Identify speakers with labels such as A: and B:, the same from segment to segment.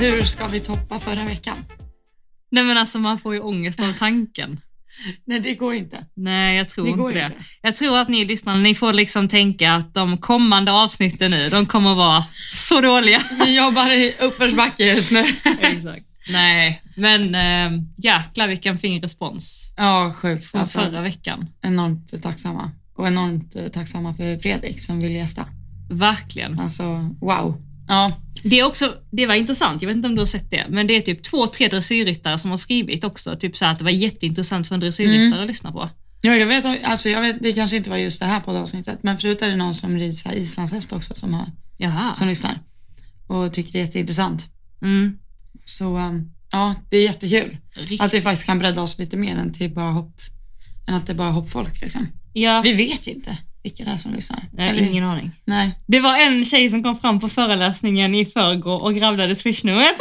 A: Hur ska vi toppa förra veckan?
B: Nej men alltså man får ju ångest av tanken.
A: Nej, det går inte.
B: Nej jag tror
A: Det
B: inte
A: går
B: det.
A: inte.
B: Jag tror att ni lyssnare, ni får liksom tänka att de kommande avsnitten nu, de kommer vara så dåliga.
A: Vi jobbar i uppförsbacke just nu.
B: Exakt. Nej, men äh, jäklar vilken fin respons
A: Ja, sjukt.
B: från
A: Alltså,
B: förra veckan.
A: enormt tacksamma. Och enormt eh, tacksamma för Fredrik som vill gästa.
B: Verkligen.
A: Alltså, wow. Ja,
B: Det är också, det var intressant, jag vet inte om du har sett det, men det är typ två, tre dressyrryttare som har skrivit också, typ så här att det var jätteintressant för en dressyrryttare
A: Mm.
B: att lyssna på.
A: ja jag, vet, alltså, jag vet, det kanske inte var just det här poddavsnittet, men förut är det någon som rider så här islandshäst också som, har,
B: Jaha.
A: som lyssnar och tycker det är jätteintressant.
B: Mm.
A: Så ehm, ja, det är jättekul.
B: Rikt-
A: Att vi faktiskt kan bredda oss lite mer än, till bara hopp, än att det är bara hoppfolk. Liksom.
B: ja.
A: Vi vet ju inte vilka det är som lyssnar.
B: Nej,
A: Eller-
B: ingen aning.
A: Nej.
B: Det var en tjej som kom fram på föreläsningen i förrgår och gravlade swishnumret.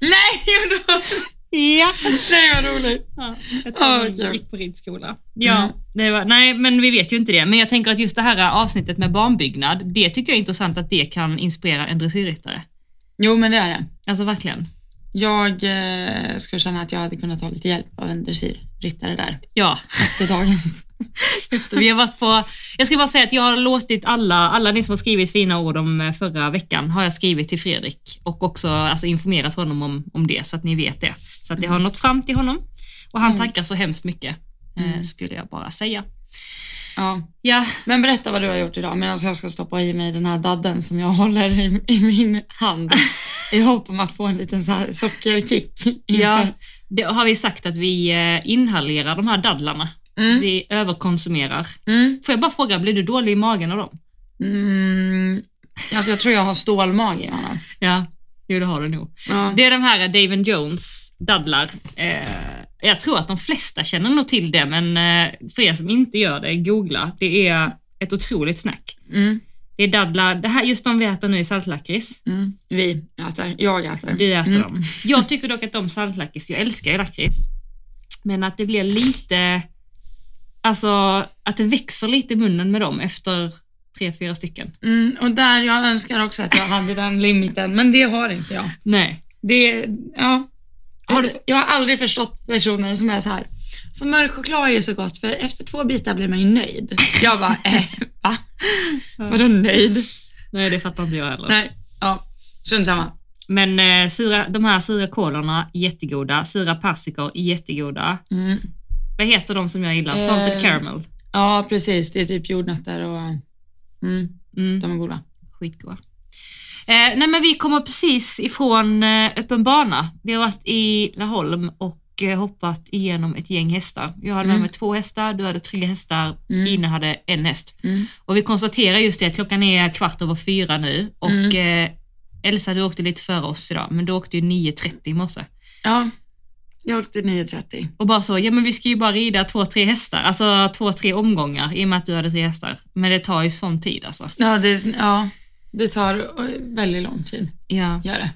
A: Nej, gjorde
B: Ja.
A: Nej, vad roligt.
B: ja jag tror
A: Ja,
B: hon
A: kul. Mm.
B: gick på ridskola. Ja, det var, nej men vi vet ju inte det. Men jag tänker att just det här avsnittet med barnbyggnad, det tycker jag är intressant att det kan inspirera en dressyrryttare.
A: Jo, men det är det.
B: Alltså verkligen.
A: Jag eh, skulle känna att jag hade kunnat ta lite hjälp av en dressyrryttare där
B: Ja,
A: efter dagens.
B: just det. Vi har varit på, jag ska bara säga att jag har låtit alla, alla ni som har skrivit fina ord om eh, förra veckan har jag skrivit till Fredrik och också alltså, informerat honom om, om det så att ni vet det. Så att det har nått fram till honom och han
A: Mm.
B: tackar så hemskt mycket eh, skulle jag bara säga.
A: Ja.
B: Ja,
A: Men berätta vad du har gjort idag medan jag ska stoppa i mig den här dadden som jag håller i, i min hand i hopp om att få en liten så här sockerkick.
B: ja
A: inför-
B: det har vi sagt att vi eh, inhalerar de här dadlarna.
A: Mm.
B: Vi överkonsumerar.
A: Mm.
B: Får jag bara fråga, blir du dålig i magen av dem?
A: Mm. Alltså, jag tror jag har stålmage, Johanna.
B: Ja, jo det har du nog.
A: Ja.
B: Det är de här Dave Jones dadlar. Eh, jag tror att de flesta känner nog till det, men eh, för er som inte gör det, googla. Det är ett otroligt snack.
A: Mm.
B: Det är dadlar, det här, just de vi äter nu är saltlakrits.
A: Mm. Vi äter, jag äter.
B: Vi äter
A: Mm.
B: dem. Jag tycker dock att de saltlakrits, jag älskar ju lakrits, men att det blir lite, alltså att det växer lite i munnen med dem efter tre, fyra stycken.
A: Mm, och där, jag önskar också att jag hade den limiten, men det har inte jag.
B: Nej.
A: Det, ja.
B: Har du-
A: Jag har aldrig förstått personer som är så här. Så mörk choklad är ju så gott, för efter två bitar blir man ju nöjd. Jag bara, eh, va? Vadå nöjd?
B: Nej, det fattar inte jag heller.
A: Nej, ja, strunt samma.
B: Men eh, sura, de här sura kolorna, jättegoda. Sura persikor, jättegoda.
A: Mm.
B: Vad heter de som jag gillar?
A: Eh.
B: Salted caramel.
A: Ja, precis. Det är typ jordnötter och mm,
B: Mm,
A: de är goda.
B: skitgoda. Eh, nej men vi kommer precis ifrån eh, öppen bana. Vi har varit i Laholm och eh, hoppat igenom ett gäng hästar. Jag hade med
A: Mm.
B: mig två hästar, du hade tre hästar,
A: Mm.
B: Ina hade en häst.
A: Mm.
B: Och vi konstaterar just det, att klockan är kvart över fyra nu och
A: Mm.
B: eh, Elsa du åkte lite före oss idag, men du åkte ju 9.30 i morse.
A: Ja, jag åkte 9.30.
B: Och bara så, ja men vi ska ju bara rida två, tre hästar, alltså två, tre omgångar i och med att du hade tre hästar. Men det tar ju sån tid alltså.
A: Ja, det, ja, det tar eh, väldigt lång tid,
B: Ja.
A: gör det.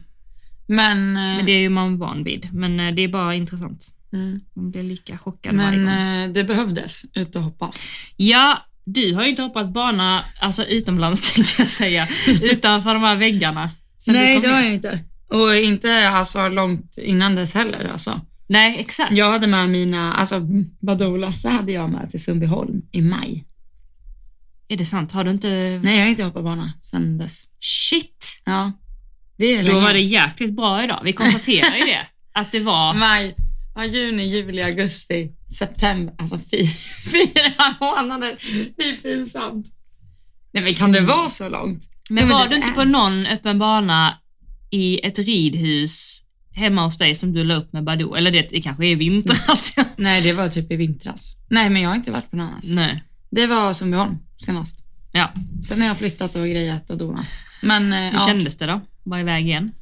A: Men, eh,
B: Men det är ju man van vid, men eh, det är bara intressant.
A: mm.
B: Man blir lika chockad varje
A: Men
B: gång.
A: eh, det behövdes, ut och hoppas.
B: Ja, du har ju inte hoppat bana, alltså utomlands tänkte jag säga, utanför de här väggarna. sen du kom in.
A: jag inte. Och inte alltså, långt innan dess heller. Alltså.
B: Nej, exakt.
A: Jag hade med mina, alltså Badolasa hade jag med till Sundbyholm i maj.
B: Är det sant? Har du inte...
A: Nej, jag har inte hoppat bana sedan dess.
B: Shit!
A: Ja, det är
B: Då
A: länge.
B: var det jäkligt bra idag. Vi konstaterar ju det. Att det var...
A: Maj, ja, juni, juli, augusti, september. Alltså fy, fyra månader. Det är pinsamt. Nej men kan det vara så långt?
B: Men
A: Ja,
B: var du
A: det
B: inte
A: är-
B: på någon öppen bana i ett ridhus hemma hos dig som du la upp med Badoo? Eller det, det kanske är alltså. i vintras? ja.
A: Nej, det var typ i vintras. Nej, men jag har inte varit på någon annan.
B: Nej.
A: Det var Sundbyholm senast.
B: Ja,
A: Sen har jag flyttat och grejat och donat. Men eh,
B: hur
A: ja,
B: kändes det då? Var iväg igen?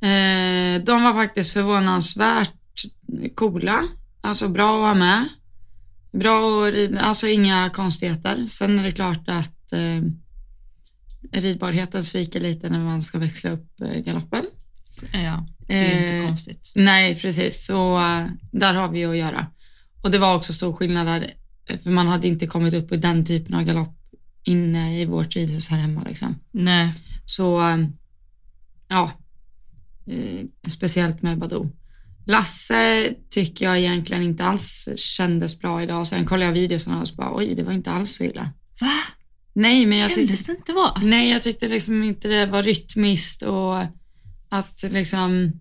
A: eh, de var faktiskt förvånansvärt coola. Alltså bra att ha med. Bra att rida, alltså inga konstigheter. Sen är det klart att eh, ridbarheten sviker lite när man ska växla upp eh, galoppen.
B: Ja, det är ju inte
A: Eh,
B: konstigt.
A: Nej, precis. Så eh, där har vi att göra. Och det var också stor skillnad där, eh, för man hade inte kommit upp i den typen av galopp inne i vårt ridhus här hemma liksom.
B: Nej.
A: Så eh, ja, eh, speciellt med Badoo. Lasse tycker jag egentligen inte alls kändes bra idag. Sen kollade jag videorna och så bara, oj, det var inte alls så illa.
B: Va?
A: Nej, men jag tyckte,
B: Kändes det inte bra?
A: nej, jag tyckte liksom inte det var rytmiskt och att liksom...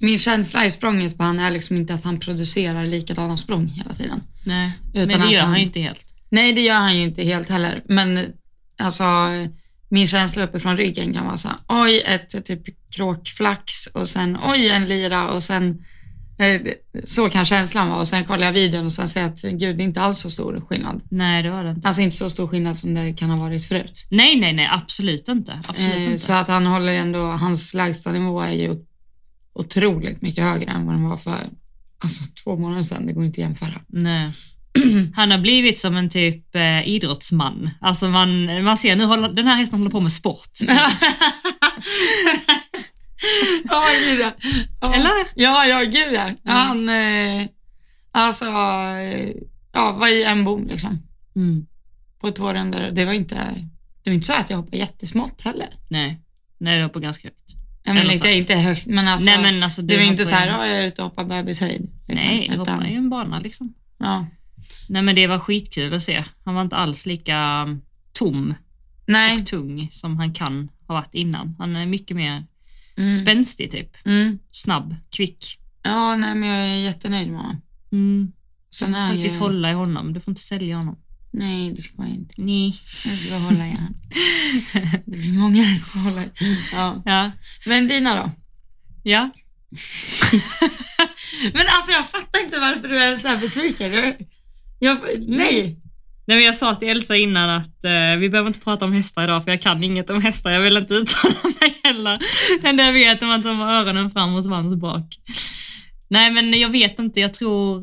A: Min känsla i språnget på han är liksom inte att han producerar likadana språng hela tiden.
B: Nej,
A: Utan
B: men det
A: att
B: gör
A: han-
B: han ju inte helt.
A: Nej, det gör han ju inte helt heller. Men alltså, min känsla uppifrån ryggen kan vara så här, oj, ett typ kråkflax och sen oj, en lira och sen eh, så kan känslan vara och sen kollar jag videon och sen säger jag att gud, det är inte alls så stor skillnad.
B: Nej, det var det inte.
A: Alltså inte så stor skillnad som det kan ha varit förut.
B: Nej, nej, nej, absolut inte. Absolut
A: Eh,
B: inte.
A: Så att han håller ändå, hans lägsta nivå är ju otroligt mycket högre än vad den var för alltså, två månader sedan. Det går inte att jämföra.
B: Nej. Han har blivit som en typ eh, idrottsman. Alltså man, man ser nu håller, den här hästen håller på med sport.
A: Ja, gud ja. ja.
B: Eller? Mm.
A: Ja, ja, gud ja. Han, eh, alltså, eh, ja, var i en bom liksom
B: Mm.
A: på två runder. Det var inte, det var inte så att jag hoppade jättesmått heller.
B: Nej, nej det var på ganska högt.
A: Jag menar,
B: Eller
A: inte, inte högt, men alltså,
B: nej, men alltså,
A: det var
B: hoppar
A: inte så här,
B: ju-
A: ja, jag är ute och hoppar bebishöjd. liksom,
B: nej,
A: utan-
B: hoppar ju en bana liksom.
A: ja.
B: Nej men det var skitkul att se. Han var inte alls lika mm, tom
A: Nej.
B: och tung som han kan ha varit innan. Han är mycket mer
A: Mm.
B: spänstig typ.
A: Mm.
B: Snabb, kvick.
A: Ja, nej, men jag är jättenöjd med honom.
B: Mm.
A: Sen är
B: Faktiskt
A: jag...
B: hålla i honom, du får inte sälja honom.
A: Nej, det ska jag inte.
B: Nej.
A: Jag ska hålla i han. Det blir många som håller i. Ja.
B: Ja.
A: Men dina då?
B: ja.
A: Men alltså jag fattar inte varför du är så här besviken. Jag, jag, nej.
B: Nej, men jag sa till Elsa innan att eh, vi behöver inte prata om hästar idag för jag kan inget om hästar. Jag vill inte uttala mig heller. Det enda jag vet är att de har öronen fram och svans bak. Nej men jag vet inte, jag tror...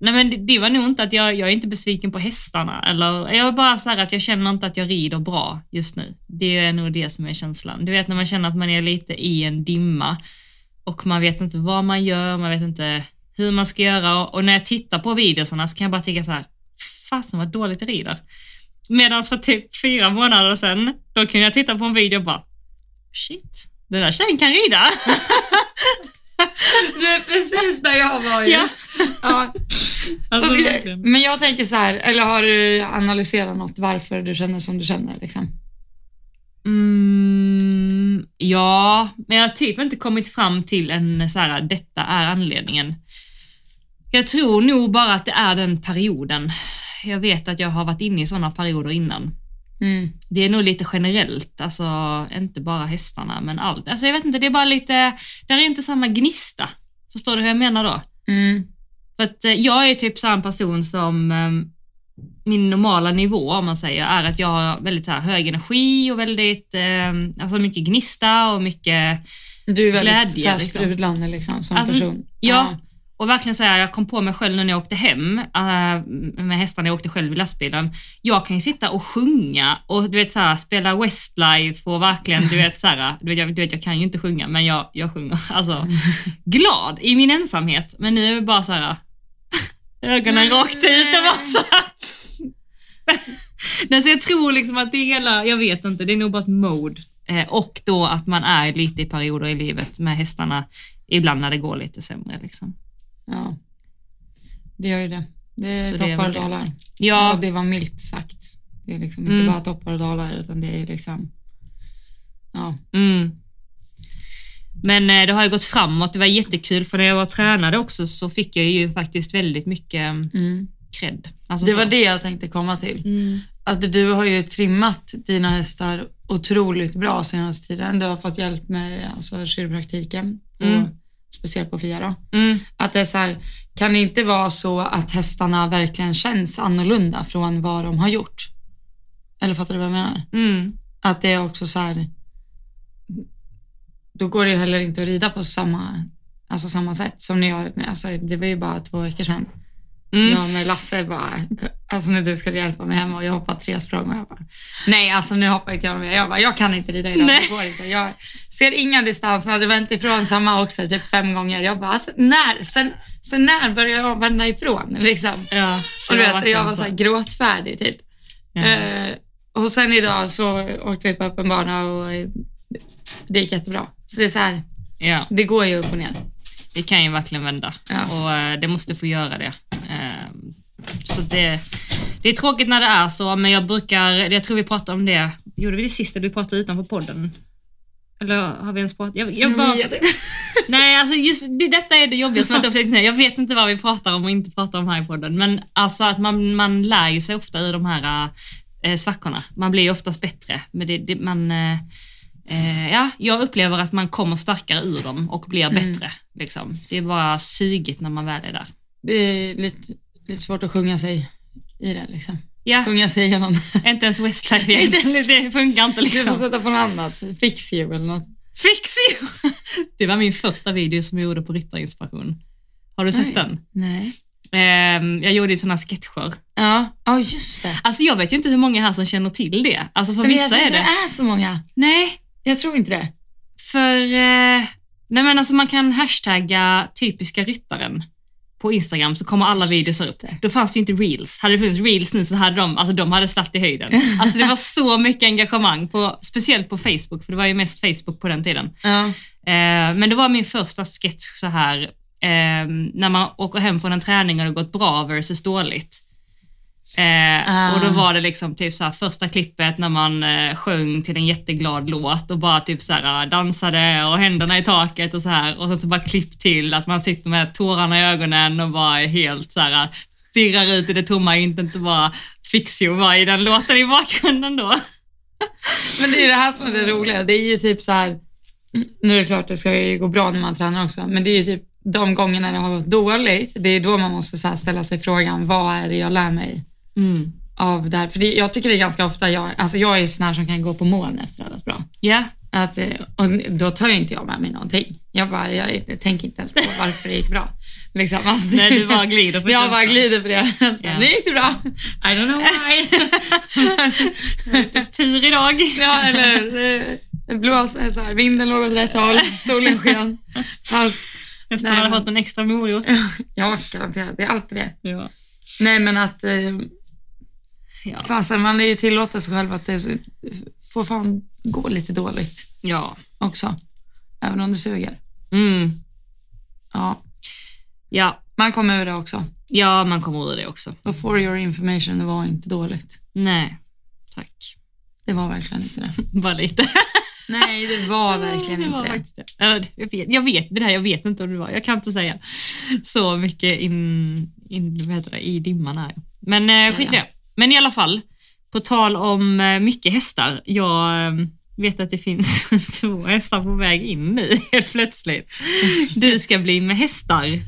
B: Nej men det, det var nog inte att jag, jag är inte besviken på hästarna. Eller, jag är bara så här att jag känner inte att jag rider bra just nu. Det är nog det som är känslan. Du vet när man känner att man är lite i en dimma och man vet inte vad man gör, man vet inte hur man ska göra och när jag tittar på videorna så kan jag bara tycka så här, fasen vad dåligt jag rider. Medan för typ fyra månader sedan, då kunde jag titta på en video och bara, shit, den där tjejen kan rida.
A: Du är precis där jag var ju.
B: Ja.
A: Ja.
B: Alltså,
A: Vad ska-
B: verkligen.
A: men jag tänker så här, eller har du analyserat något varför du känner som du känner? Liksom?
B: Mm, ja, men jag har typ inte kommit fram till en så här, detta är anledningen. Jag tror nog bara att det är den perioden. Jag vet att jag har varit inne i sådana perioder innan.
A: Mm.
B: Det är nog lite generellt, alltså inte bara hästarna men allt. Alltså jag vet inte, det är bara lite, där är inte samma gnista. Förstår du hur jag menar då?
A: Mm.
B: För att eh, jag är typ så här en person som eh, min normala nivå om man säger är att jag har väldigt så här hög energi och väldigt, eh, alltså mycket gnista och mycket,
A: Du är väldigt
B: Glädje,
A: så här,
B: liksom.
A: sprudlande liksom, som
B: Alltså,
A: person.
B: ja. Och verkligen så här, jag kom på mig själv när jag åkte hem eh, med hästarna, jag åkte själv i lastbilen. Jag kan ju sitta och sjunga och du vet så här, spela Westlife och verkligen, du vet så här, du vet, jag, du vet jag kan ju inte sjunga men jag, jag sjunger alltså glad i min ensamhet. Men nu är det bara så här ögonen rakt ut och bara så här. Nej, så jag tror liksom att det är hela, jag vet inte, det är nog bara ett mode. Eh, och då att man är lite i perioder i livet med hästarna, ibland när det går lite sämre. Liksom.
A: ja. Det gör ju det. Det
B: Så
A: är
B: det
A: toppar
B: är väl
A: och
B: det.
A: dalar.
B: Ja,
A: Och det var milt sagt. Det är liksom inte
B: Mm.
A: bara toppar och dalar utan det är liksom... Ja.
B: Mm. Men eh, det har ju gått framåt. Det var jättekul för när jag var tränare också så fick jag ju faktiskt väldigt mycket eh,
A: Mm.
B: cred. Alltså
A: Det
B: så.
A: var det jag tänkte komma till.
B: Mm.
A: att du har ju trimmat dina hästar otroligt bra senaste tiden. Du har fått hjälp med alltså, kiropraktiken, på,
B: Mm.
A: speciellt på Fia. Då.
B: Mm.
A: Att det är så här, kan det inte vara så att hästarna verkligen känns annorlunda från vad de har gjort? Eller fattar du vad jag menar?
B: Mm.
A: Att det är också så här, då går det ju heller inte att rida på samma, alltså samma sätt som när jag, alltså det var ju bara två veckor sedan.
B: Mm.
A: Jag med Lasse bara, alltså när du skulle hjälpa mig hemma och jag hoppade tre språng och jag bara, nej alltså nu hoppar inte jag med. Jag bara, jag kan inte rida idag,
B: Nej.
A: det går inte. Jag ser inga distanser, hade vänt ifrån samma också typ fem gånger. Jag bara, alltså, när, sen, sen när börjar jag vända ifrån liksom?
B: Ja,
A: Och du
B: det
A: vet, jag
B: verkligen
A: var så här gråtfärdig typ.
B: Ja.
A: Eh, och sen idag så åkte vi på öppen bana och eh, det gick jättebra. Så det är så här,
B: Ja,
A: det går ju upp och ner.
B: det kan ju verkligen vända
A: Ja.
B: och eh, det måste få göra det. Eh, Så det, det är tråkigt när det är så, men jag brukar, jag tror vi pratade om det, gjorde vi det sista du pratade utanför podden? Eller har vi ens pratat? Jag, jag bara,
A: vet inte.
B: Nej, alltså just det, detta är det jobbigaste med att jag försökt- nej, Jag vet inte vad vi pratar om och inte pratar om här i podden. Men alltså att man, man lär ju sig ofta ur de här eh, svackorna. Man blir ju oftast bättre. Men det, det, man, eh, eh, ja, jag upplever att man kommer starkare ur dem och blir bättre. Liksom. Det är bara sugigt när man väl är där.
A: Det är lite, lite svårt att sjunga sig i det liksom.
B: Ja,
A: Sjunga sig igenom det.
B: inte ens Westlife egentligen. Det funkar inte
A: Du får
B: liksom.
A: sätta på något annat, fix you eller något.
B: Fix you! Det var min första video som jag gjorde på Ryttarinspiration. Har du sett
A: Oj.
B: den?
A: Nej.
B: Eh, jag gjorde ju sådana sketcher.
A: Ja, ja just det.
B: Alltså jag vet ju inte hur många här som känner till det. Alltså för
A: Men jag
B: vissa
A: tror
B: är
A: inte
B: det.
A: det är så många.
B: Nej,
A: Jag tror inte det.
B: för... Eh, nej men alltså man kan hashtagga typiska ryttaren på Instagram så kommer alla videos
A: Just
B: upp.
A: det.
B: Då fanns det ju inte reels. Hade det funnits reels nu så hade de, alltså de hade slagit i höjden. Alltså det var så mycket engagemang, på, speciellt på Facebook, för det var ju mest Facebook på den tiden.
A: Ja.
B: Eh, men det var min första sketch så här, eh, när man åker hem från en träning och det har gått bra versus dåligt. Eh,
A: Ah.
B: Och då var det liksom typ så här, första klippet när man eh, sjöng till en jätteglad låt och bara typ så här, eh, dansade och händerna i taket och så här. Och sen så bara klipp till att man sitter med tårarna i ögonen och bara är helt så här eh, stirrar ut i det tomma intet och bara fix you var i den låten i bakgrunden då.
A: Men det är det här som är det roliga. Det är ju typ så här, nu är det klart det ska ju gå bra när man tränar också, men det är ju typ de gångerna det har gått dåligt, det är då man måste så här ställa sig frågan, vad är det jag lär mig av det här? För det, jag tycker det är ganska ofta, jag, alltså jag är ju sån här som kan gå på moln efter allas bra.
B: Ja,
A: Att, eh, och då tar ju inte jag med mig någonting. Jag bara, jag, tänker inte ens på varför det gick bra. Liksom, alltså,
B: när du bara glider på
A: jag
B: känslan.
A: bara glider på det. Så,
B: Ja.
A: Nu gick det bra. I don't know why.
B: Tur idag.
A: Ja, eller eh, blås, eh, så här, vinden låg åt rätt håll, solen sken. Allt.
B: Nästan
A: Nej,
B: hade
A: men-
B: fått en extra morot.
A: Ja, garanterat. Det är alltid det.
B: Ja.
A: Nej, men att eh,
B: Ja.
A: fasen, man är ju tillåta sig själv att det så- får fan gå lite dåligt
B: ja.
A: också. Även om det suger.
B: Mm.
A: Ja,
B: Ja.
A: man kommer ur det också.
B: ja, man kommer ur det också.
A: Och for your information, det var inte dåligt.
B: Nej, tack.
A: Det var verkligen inte det.
B: Bara lite.
A: Nej, det var verkligen
B: var
A: inte det.
B: faktiskt det. Eller, Jag vet, jag vet det där, jag vet inte om det var. Jag kan inte säga så mycket in, in, vad heter det, i dimman här. Men eh, skit i
A: Ja,
B: det. Men i alla fall, på tal om eh, mycket hästar. Jag eh, vet att det finns två hästar på väg in nu helt plötsligt. Du ska bli med hästar.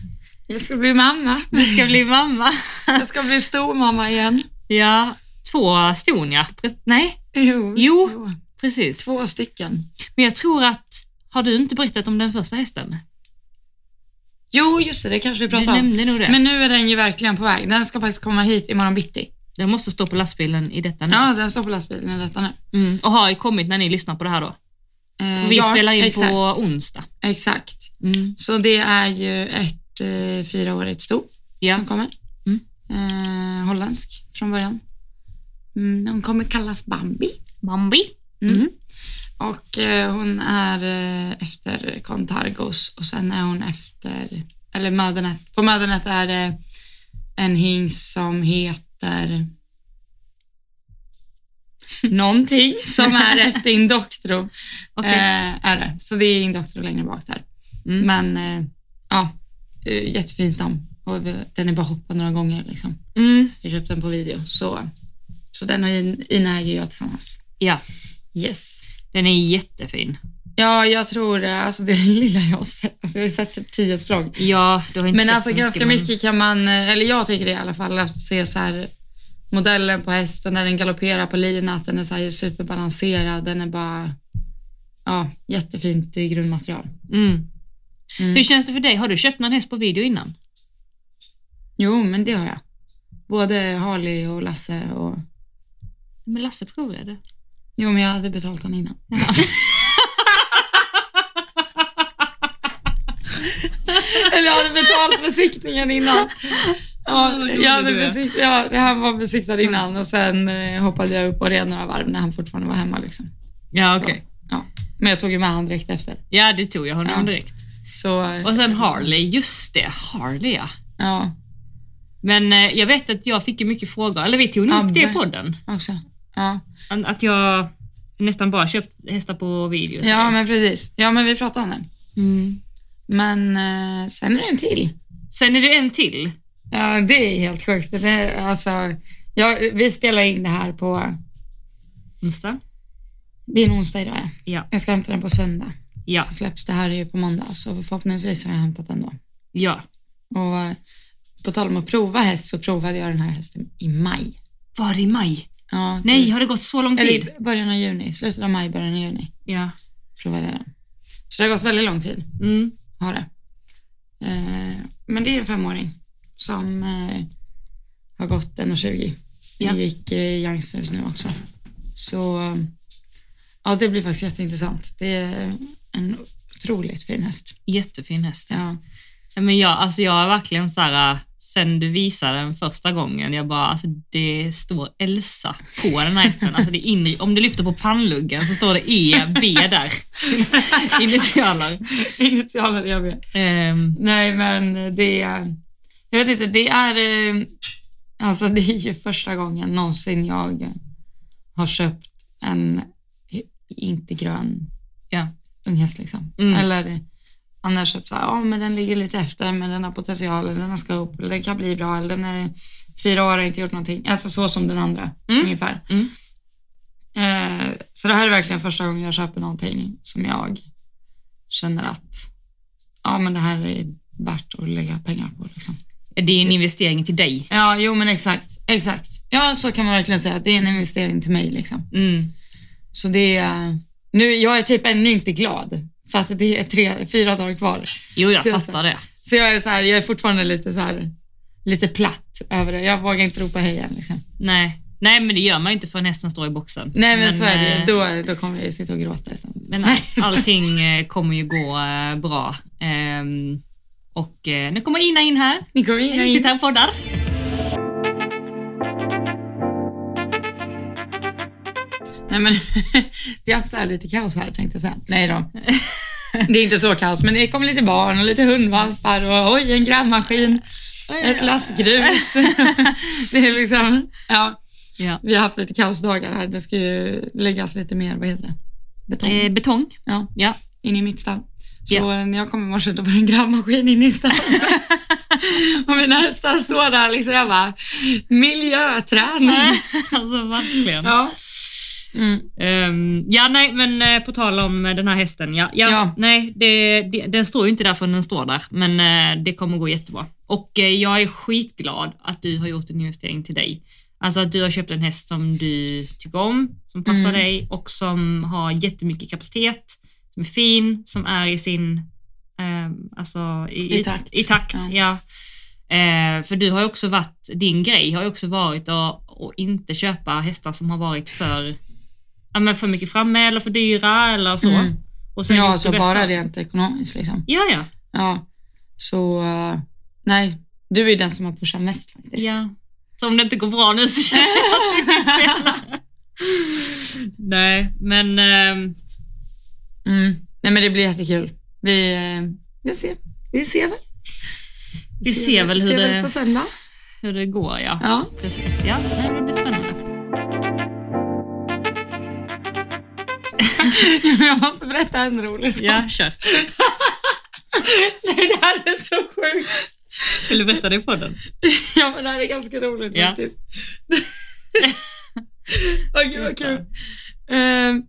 A: Jag ska bli mamma.
B: Du ska bli mamma.
A: Jag ska bli stormamma igen.
B: Ja, två ston ja. Pre- Nej,
A: Jo.
B: Jo. precis.
A: Två stycken.
B: Men jag tror att, har du inte berättat om den första hästen?
A: Jo, just det, det kanske vi
B: Du
A: pratade om.
B: nämnde nog det.
A: Men nu är den ju verkligen på väg. Den ska faktiskt komma hit imorgon bitti.
B: Den måste stå på lastbilen i detta nu.
A: Ja, den står på lastbilen i detta nu.
B: Mm. Och har ju kommit när ni lyssnar på det här då.
A: Eh,
B: Vi
A: ja,
B: spelar in
A: exakt,
B: på onsdag.
A: Exakt.
B: Mm.
A: Så det är ju ett eh, fyraårigt sto
B: Ja.
A: som kommer.
B: Mm.
A: Eh, holländsk från början. Mm, hon kommer kallas Bambi.
B: Bambi.
A: Mm.
B: Mm.
A: Och eh, hon är eh, efter Contargos och sen är hon efter, eller Mödernet. På Mödernet är det en hingst som heter någonting som är efter Indoktro.
B: Okej.
A: Eh, är det. Så det är Indoktro längre bak där.
B: Mm.
A: Men eh, ja, eh, jättefin stam. Och vi- den är bara hoppad några gånger. Liksom.
B: Mm.
A: Jag köpte den på video. Så, så den och In- Ina äger jag tillsammans.
B: Ja,
A: Yes.
B: den är jättefin.
A: Ja, jag tror det. Alltså det lilla jag har sett. Alltså jag har ju sett typ tio språng.
B: Ja, du har inte
A: Men
B: sett
A: alltså
B: så
A: ganska
B: men-
A: mycket kan man, eh, eller jag tycker det i alla fall, att se så här modellen på hästen när den galopperar på linan, att den är så här superbalanserad. Den är bara, ja, jättefint i grundmaterial.
B: Mm.
A: Mm.
B: Hur känns det för dig? Har du köpt någon häst på video innan?
A: Jo, men det har jag. Både Harley och Lasse och...
B: Men Lasse provade.
A: Jo, men jag hade betalt han innan. Eller jag hade betalt besiktningen innan.
B: Ah,
A: Ja,
B: vad rolig
A: jag hade
B: du är.
A: besik- ja, det här var besiktad innan och sen eh, hoppade jag upp och red några varv när han fortfarande var hemma. Liksom.
B: Ja,
A: Så, ja. Men jag tog ju med han direkt efter.
B: Ja, det tog jag honom
A: Ja.
B: direkt.
A: Så, eh,
B: Och sen Harley, just det, Harley ja.
A: ja,
B: Men eh, jag vet att jag fick ju mycket frågor, eller vi tog nog upp det i
A: Abbe.
B: podden.
A: också. Ja.
B: An- Att jag nästan bara köpt hästar på video. så.
A: ja, men precis. Ja, men vi pratade om det.
B: Mm.
A: Men eh, sen är det en till.
B: Sen är det en till.
A: Ja, det är helt sjukt. Det är, alltså, ja, vi spelar in det här på...
B: Onsdag.
A: Det är en onsdag idag, ja.
B: Ja.
A: Jag ska hämta den på söndag.
B: Ja.
A: Så släpps det här ju på måndag, så förhoppningsvis har jag hämtat den då.
B: ja.
A: Och eh, på tal om att prova häst så provade jag den här hästen i maj.
B: Var det i maj?
A: Ja,
B: Nej,
A: precis.
B: har det gått så lång
A: Eller
B: tid?
A: i början av juni, slutet av maj, början av juni
B: Ja.
A: provade jag den. Så det har gått väldigt lång tid,
B: Mm.
A: har det. Eh, men det är en femåring som eh, har gått 1,20.
B: Ja.
A: Ja. gick eh, Youngsters nu också. Så eh, ja, det blir faktiskt jätteintressant. Det är en otroligt fin häst.
B: Jättefin häst. Ja.
A: Ja,
B: Nej, Men jag, alltså jag är verkligen så här, äh, sen du visade den första gången, jag bara, alltså det står Elsa på den här hästen. Alltså det är inri- om du lyfter på pannluggen så står det EB där. Initialer.
A: initialer jag vet.
B: Ehm,
A: Nej, men det är... Jag vet inte, det är... eh, Alltså det är ju första gången någonsin jag har köpt en inte grön
B: ja.
A: unghäst liksom.
B: Mm.
A: Eller annars köpt så här, ja men den ligger lite efter men den har potential, eller den ska upp, eller den kan bli bra, eller den är fyra år och har inte gjort någonting. Alltså så som den andra
B: Mm.
A: ungefär.
B: Mm.
A: Eh, så det här är verkligen första gången jag köper någonting som jag känner att, ja men det här är värt att lägga pengar på liksom.
B: Det är en investering till dig.
A: Ja, jo men exakt, exakt. Ja, så kan man verkligen säga, det är en investering till mig liksom.
B: Mm.
A: Så det är, nu, jag är typ ännu inte glad för att det är tre, fyra dagar kvar.
B: Jo, jag
A: Så jag
B: fattar det.
A: Så jag är, så här, jag är fortfarande lite så här, lite platt över det. Jag vågar inte ropa hej än. Liksom.
B: Nej. Nej, men det gör man ju inte förrän hästen står i boxen.
A: Nej men, så är det
B: eh,
A: ju. Då, då kommer jag ju sitta och gråta istället.
B: Men
A: Nej.
B: allting eh, kommer ju gå eh, bra. Ehm, och eh, nu kommer Ina in här.
A: Ni kommer
B: Vi sitter
A: in.
B: här och poddar.
A: Nej men det är alltså så här lite kaos här tänkte jag säga. Nej då. Det är inte så kaos, men det kommer lite barn och lite hundvalpar och oj, en grävmaskin, ett lass grus. Det är liksom, ja.
B: Ja.
A: Vi har haft lite kaosdagar här. Det ska ju läggas lite mer, vad heter det? Betong.
B: Eh, betong.
A: Ja,
B: Ja.
A: in i mitt stall. Så
B: Ja.
A: eh, när jag kom i morse då var det en grävmaskin inne i stallet. och mina hästar står där liksom. Jag bara, miljöträning.
B: alltså verkligen. Ja.
A: ja. Mm.
B: Ehm, ja, nej, men eh, på tal om eh, den här hästen. Ja, ja,
A: Ja.
B: Nej, det, det, den står ju inte där förrän den står där, men eh, det kommer gå jättebra. Och eh, jag är skitglad att du har gjort en investering till dig. Alltså att du har köpt en häst som du tycker om, som passar
A: Mm.
B: dig och som har jättemycket kapacitet, som är fin, som är i sin... Eh, alltså
A: I takt.
B: I takt, ja. Eh, för du har ju också varit, din grej har ju också varit att, att inte köpa hästar som har varit för, ja, men för mycket framme eller för dyra eller så.
A: Mm.
B: Och sen gjort
A: Ja,
B: det
A: så
B: bästa.
A: bara rent ekonomiskt liksom.
B: Ja, ja.
A: Ja, så eh, nej, du är den som har pushat mest faktiskt.
B: ja. Så om det inte går bra nu så känner jag att vi inte spelar. Nej, men ehm,
A: Mm. Nej men det blir jättekul. Vi, eh, vi ser. Vi ser väl.
B: Vi ser väl hur
A: ser
B: det-
A: Väl på söndag.
B: hur det går ja.
A: Ja.
B: Precis, ja. Nej, men det blir spännande.
A: Jag måste berätta en rolig sak.
B: Ja, kör.
A: Nej, det här är så sjukt.
B: Vill du berätta det i podden?
A: Ja, men det här är ganska roligt
B: Ja.
A: faktiskt. Åh gud vad kul. Ehm,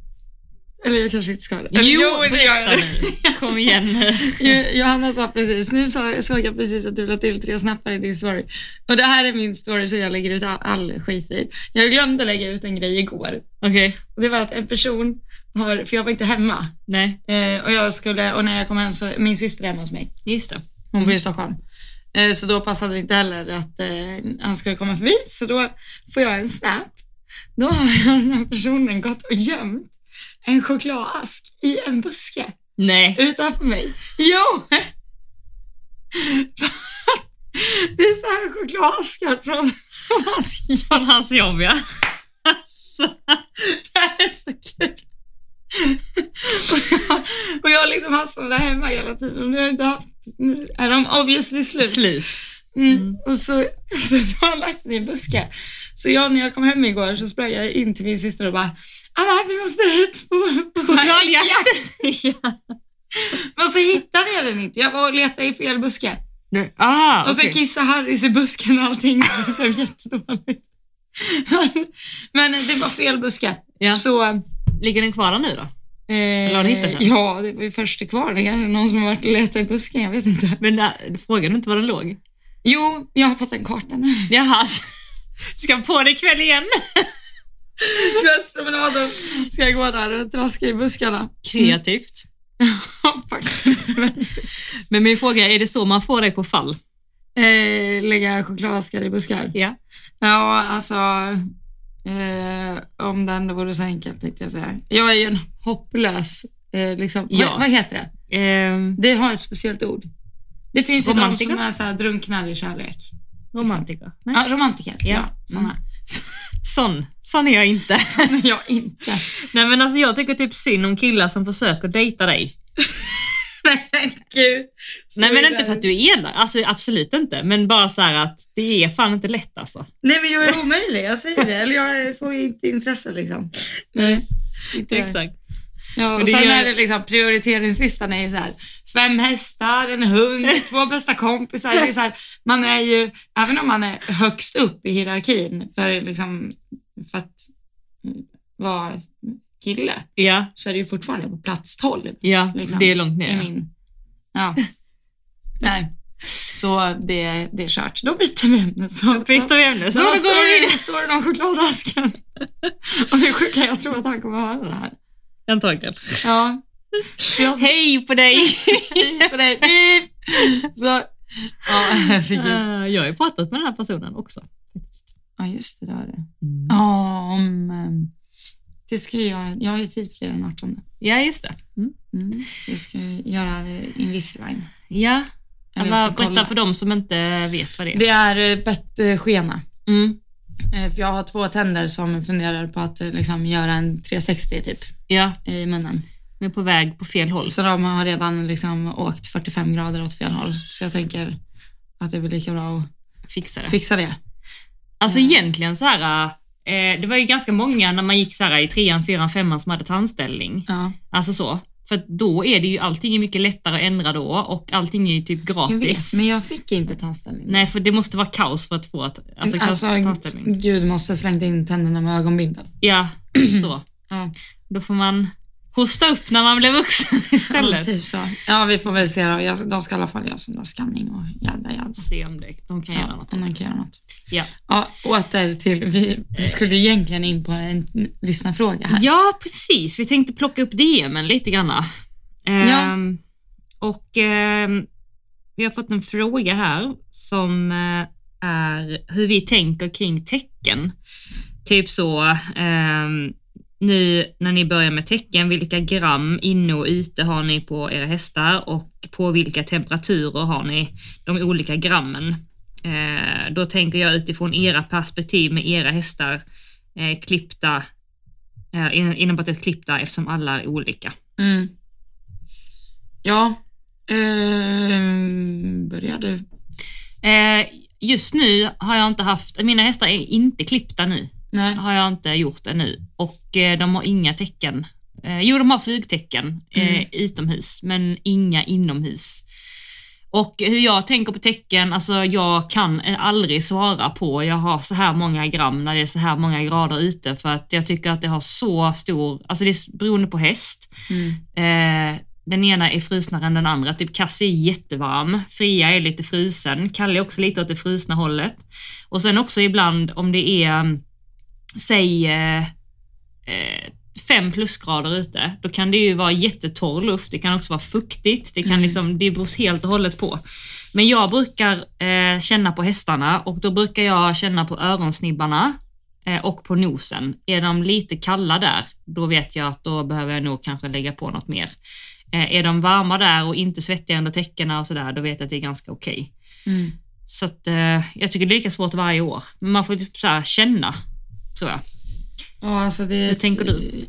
A: eller jag kanske inte ska det. Eller, det gör jag.
B: berätta nu. Kom igen nu.
A: Jo- Johanna sa precis, nu sa- såg jag precis att du la till tre snappar i din story. Och det här är min story som jag lägger ut all, all skit i. Jag glömde lägga ut en grej igår.
B: Okej.
A: Och det var att en person har, för jag var inte hemma.
B: Nej,
A: Eh, och jag skulle, och när jag kom hem så, min syster är hemma hos mig.
B: just det.
A: Hon bor i Stockholm. Eh, Så då passade det inte heller att eh, han skulle komma förbi, så då får jag en snap. Då har den här personen gått och gömt en chokladask i en buske
B: Nej.
A: utanför mig. Jo! Det är så här chokladaskar från hans
B: Från hans jobb ja. Alltså,
A: Det här är så kul. massor liksom där hemma hela tiden och nu har jag inte haft, nu är de obviously slut.
B: Slut.
A: Mm. Och så, så jag har lagt mig i en buske. Så jag, när jag kom hem igår så sprang jag in till min syster och bara Anna, vi måste ut på, på så här äggjakt."
B: ja.
A: Men så hittade jag den inte. Jag var och letade i fel buske.
B: Ah,
A: Och så
B: okej.
A: kissade Harris i busken och allting. Så det blev jättedåligt. Men, men det var fel buske.
B: Ja.
A: Så, eh,
B: Ligger den kvar där nu då? Eller har du hittat den?
A: Ja, det var ju först kvar. Det kanske är någon som har varit och letat i busken. Jag vet inte.
B: Men där, frågade du inte var den låg?
A: Jo, jag har fått en karta nu.
B: Jaha. Ska på det ikväll igen?
A: Kvällspromenaden ska jag gå där och traska i buskarna.
B: Kreativt.
A: Ja, faktiskt.
B: Men min fråga är, är det så man får dig på fall?
A: Eh, lägga chokladaskar i buskar.
B: Ja.
A: Ja, alltså. Eh, om det ändå vore så enkelt tänkte jag säga. Jag är ju en hopplös, eh, liksom.
B: Ja.
A: Vad, vad heter det?
B: Ehm,
A: Det har ett speciellt ord. Det finns ju
B: Romantiker?
A: de som är så här drunknar i kärlek.
B: romantiker. Nej.
A: Ja, romantiker. Ja,
B: Ja.
A: såna.
B: Sån. Sån är jag inte.
A: jag inte.
B: Nej men alltså jag tycker typ synd om killar som försöker dejta dig.
A: Nej, gud.
B: Nej men inte för att du är elak, alltså absolut inte. Men bara så här att det är fan inte lätt alltså.
A: Nej, men jag är omöjlig. Jag säger det. Eller jag får ju inte intresse liksom.
B: Nej,
A: Inte
B: exakt.
A: Ja, och
B: det
A: sen
B: gör-
A: är det liksom prioriteringslistan är ju så här, fem hästar, en hund, två bästa kompisar. Det är så här, man är ju, även om man är högst upp i hierarkin för, liksom, för att vara kille
B: Ja,
A: så är det ju fortfarande på plats 12
B: ja
A: Liksom.
B: det är långt ner.
A: i min... Ja. Nej. Så det, det är kört. Då byter vi ämne. Så
B: Byter vi ämne. Så
A: Då
B: då går vi
A: står, står det någon chokladasken. Och det sjuka är att jag tror att han kommer att höra det här.
B: Antagligen.
A: Ja. Så jag
B: Hej på dig!
A: på dig. Beep. Så, ja, herregud.
B: Eh, jag har ju pratat med den här personen också. faktiskt.
A: Ja, just det, det var det.
B: Ja.
A: Ja, om... ehm, Det ska ju jag, jag har ju tid för det den 18.
B: Ja, just det. Mm.
A: Mm. Jag ska ju göra eh, Invisalign.
B: Ja,
A: Eller jag
B: bara
A: ska kolla.
B: berätta för dem som inte vet vad det är.
A: Det är eh, bettskena.
B: Mm.
A: Eh, För jag har två tänder som funderar på att eh, liksom, göra en 360 typ
B: Ja,
A: i munnen.
B: vi är på väg på fel håll.
A: Så de har redan liksom, åkt 45 grader åt fel håll. Så jag tänker att det blir lika bra att
B: Fixa det.
A: fixa det.
B: Alltså egentligen så här, eh, det var ju ganska många när man gick så här i trean, fyran, femman som hade tandställning.
A: Ja.
B: Alltså så. För att då är det ju, allting är mycket lättare att ändra då och allting är ju typ
A: Jag
B: gratis.
A: vet, men jag fick inte tandställning.
B: Nej, för det måste vara kaos för att få ett, alltså, kaos
A: Alltså,
B: för tandställning.
A: Gud måste ha slängt in tänderna med ögonbindel.
B: Ja, så.
A: Ja,
B: Då får man hosta upp när man blir vuxen
A: ja,
B: istället.
A: typ så. Ja, vi får väl se då. Jag, de ska i alla fall göra sån där scanning och jädra jädra.
B: Se om det, de kan göra
A: Ja,
B: något.
A: om de kan göra något.
B: Ja.
A: Ja, åter till, vi skulle egentligen in på en n- lyssnarfråga här.
B: ja, precis. Vi tänkte plocka upp DMen lite grann. Ehm, Och ehm, vi har fått en fråga här som eh, är hur vi tänker kring tecken. Typ så, ehm, nu när ni börjar med tecken, vilka gram inne och ute har ni på era hästar och på vilka temperaturer har ni de olika grammen? Eh, då tänker jag utifrån era perspektiv med era hästar eh, klippta, eh, in- inom parentes klippta eftersom alla är olika.
A: Mm. Ja, ehm, börjar du?
B: Eh, just nu har jag inte haft, mina hästar är inte klippta nu.
A: Nej.
B: har jag inte gjort ännu och eh, de har inga tecken. Eh, jo, de har flygtecken eh,
A: Mm.
B: utomhus, men inga inomhus. Och hur jag tänker på tecken, alltså jag kan eh, aldrig svara på, jag har så här många gram när det är så här många grader ute för att jag tycker att det har så stor, alltså det är s- beroende på häst.
A: Mm.
B: Eh, den ena är frusnare än den andra. Typ Cassie är jättevarm, Fria är lite frusen, Kalle är också lite åt det frusna hållet. Och sen också ibland om det är, mm, säg, eh, eh, fem plusgrader ute, då kan det ju vara jättetorr luft, det kan också vara fuktigt, det, kan
A: Mm.
B: liksom, det beror helt och hållet på. Men jag brukar eh, känna på hästarna och då brukar jag känna på öronsnibbarna eh, och på nosen. Är de lite kalla där, då vet jag att då behöver jag nog kanske lägga på något mer. Eh, är de varma där och inte svettiga under täckena och sådär, då vet jag att det är ganska okej.
A: Mm.
B: Så att, eh, jag tycker det är lika svårt varje år. Men man får typ så här känna, tror jag.
A: Ja, alltså det är
B: Hur
A: ett-
B: tänker du?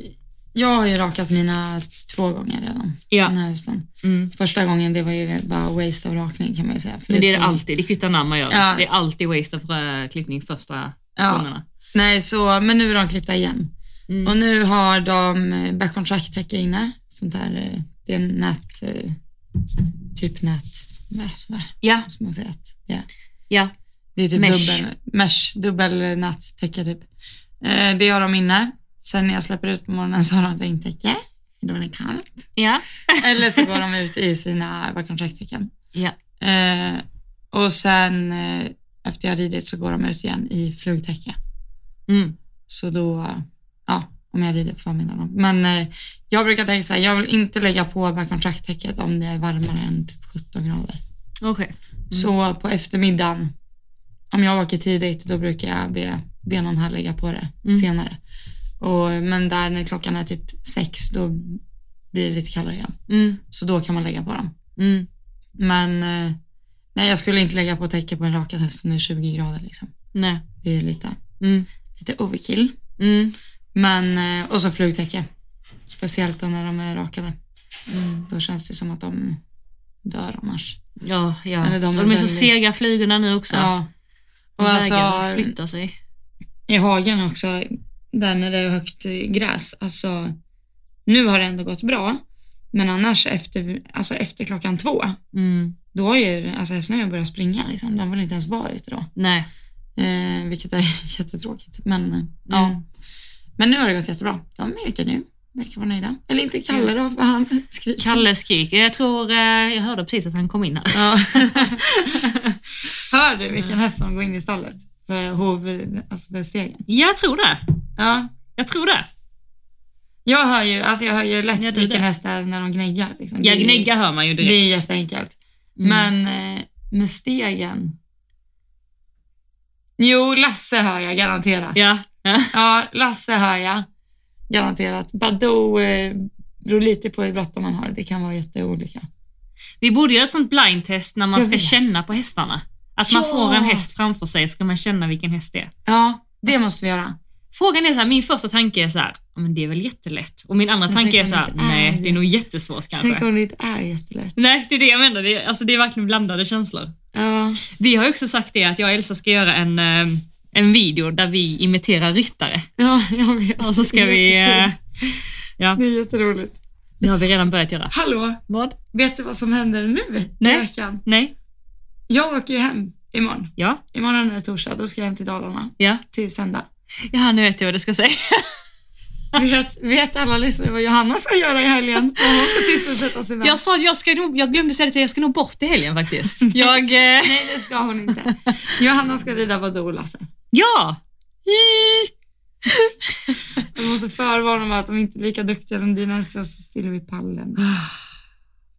A: jag har ju rakat mina två gånger redan
B: Ja.
A: den här hösten.
B: Mm.
A: Första gången det var ju bara waste av rakning kan man ju säga. för
B: Men det är det
A: tog-
B: alltid, det kvittar när man gör det.
A: Ja.
B: Det är alltid waste of eh, klippning första
A: Ja.
B: gångerna.
A: Nej, så, men nu är de klippta igen.
B: Mm.
A: Och nu har de eh, background track täcke inne. Sånt här, eh, det är en nät, eh, typ nät, vad som är,
B: Ja,
A: som man säger att det är.
B: ja.
A: Det är typ
B: Mesh.
A: dubbel, mesh, dubbel nättäcke typ. Eh, det har de inne. Sen när jag släpper ut på morgonen så har de regntäcke, då är det kallt.
B: ja.
A: Eller så går de ut i sina background track-täcken.
B: ja.
A: Eh, och sen eh, efter jag har ridit så går de ut igen i flugtäcke.
B: Mm.
A: Så då, ja, om jag rider på förmiddagen. Men eh, jag brukar tänka så här, jag vill inte lägga på background track-täcket om det är varmare än typ 17 grader.
B: Okej.
A: Så på eftermiddagen, om jag åker tidigt, då brukar jag be, be någon här lägga på det
B: Mm.
A: senare. Och, men där när klockan är typ sex, då blir det lite kallare igen.
B: Mm.
A: Så då kan man lägga på dem.
B: Mm.
A: Men eh, nej, jag skulle inte lägga på täcke på en rakad häst om det är 20 grader. Liksom.
B: Nej.
A: Det är lite,
B: Mm.
A: lite overkill.
B: Mm.
A: Men, eh, och så flugtäcke. Speciellt då när de är rakade.
B: Mm.
A: Då känns det som att de dör annars.
B: Ja, ja.
A: Eller de
B: de
A: är
B: är, så
A: väldigt-
B: sega flygorna nu också.
A: Ja.
B: De
A: Och alltså,
B: vägrar flytta sig.
A: i hagen också, där när det är högt eh, gräs, alltså nu har det ändå gått bra, men annars efter, alltså efter klockan två,
B: Mm.
A: då har ju alltså hästarna börjat springa liksom. De vill inte ens vara ute då.
B: Nej.
A: Eh, vilket är jättetråkigt. Men, eh, ja.
B: Mm.
A: men nu har det gått jättebra. De är ute nu. Verkar vara nöjda. Eller inte Kalle då, för han skriker.
B: Kalle skriker. Jag tror, eh, jag hörde precis att han kom in här.
A: Ja. Hör du vilken häst som går in i stallet? För hov, alltså för stegen.
B: Jag tror det.
A: Ja.
B: Jag tror det.
A: Jag hör ju, alltså jag hör ju lätt
B: Ja, det är
A: vilken
B: det.
A: häst det är när de gnäggar. Liksom.
B: Ja,
A: Det är-
B: gnägga hör man ju direkt.
A: Det är jätteenkelt.
B: Mm.
A: Men eh, med stegen. Jo, Lasse hör jag garanterat.
B: Ja. ja.
A: Ja, Lasse hör jag. Garanterat. Badoo eh, beror lite på hur bråttom man har. Det kan vara jätteolika.
B: Vi borde göra ett sånt blindtest när man
A: Jag
B: ska
A: vet.
B: känna på hästarna. Att man
A: Ja.
B: får en häst framför sig ska man känna vilken häst det är.
A: Ja, det måste vi göra.
B: Frågan är så här, min första tanke är så här, "Ja, men det är väl jättelätt. Och min andra
A: Men
B: tanke är
A: tänk
B: så
A: om
B: här,
A: det inte är
B: nej det är
A: det."
B: nog jättesvårt kanske.
A: Tänk om det inte är jättelätt.
B: Nej, det är det jag menar. Det är, alltså, det är verkligen blandade känslor.
A: Ja,
B: Vi har ju också sagt det att jag och Elsa ska göra en, eh, en video där vi imiterar ryttare.
A: ja jag vet.
B: Och så ska vi... eh,
A: Jättekul.
B: Ja,
A: Det är jätteroligt.
B: det har vi redan börjat göra.
A: Hallå,
B: Vad?
A: vet du vad som händer nu
B: Nej.
A: i veckan?
B: Nej?
A: Jag åker ju hem imorgon.
B: Ja?
A: Imorgon är det torsdag, då ska jag hem till Dalarna
B: Ja?
A: till söndag.
B: Ja, nu vet jag vad du ska säga.
A: Vet, vet alla lyssnare vad Johanna ska göra i helgen? Vad hon ska sysselsätta sig med?
B: Jag sa jag, ska nog, jag glömde säga det till dig, jag ska nog bort i helgen faktiskt. Jag... Eh,
A: Nej, det ska hon inte. Johanna ska rida Badoo och Lasse.
B: ja!
A: Jag måste förvarna om att de inte är lika duktiga som dina hästar och står still vid pallen.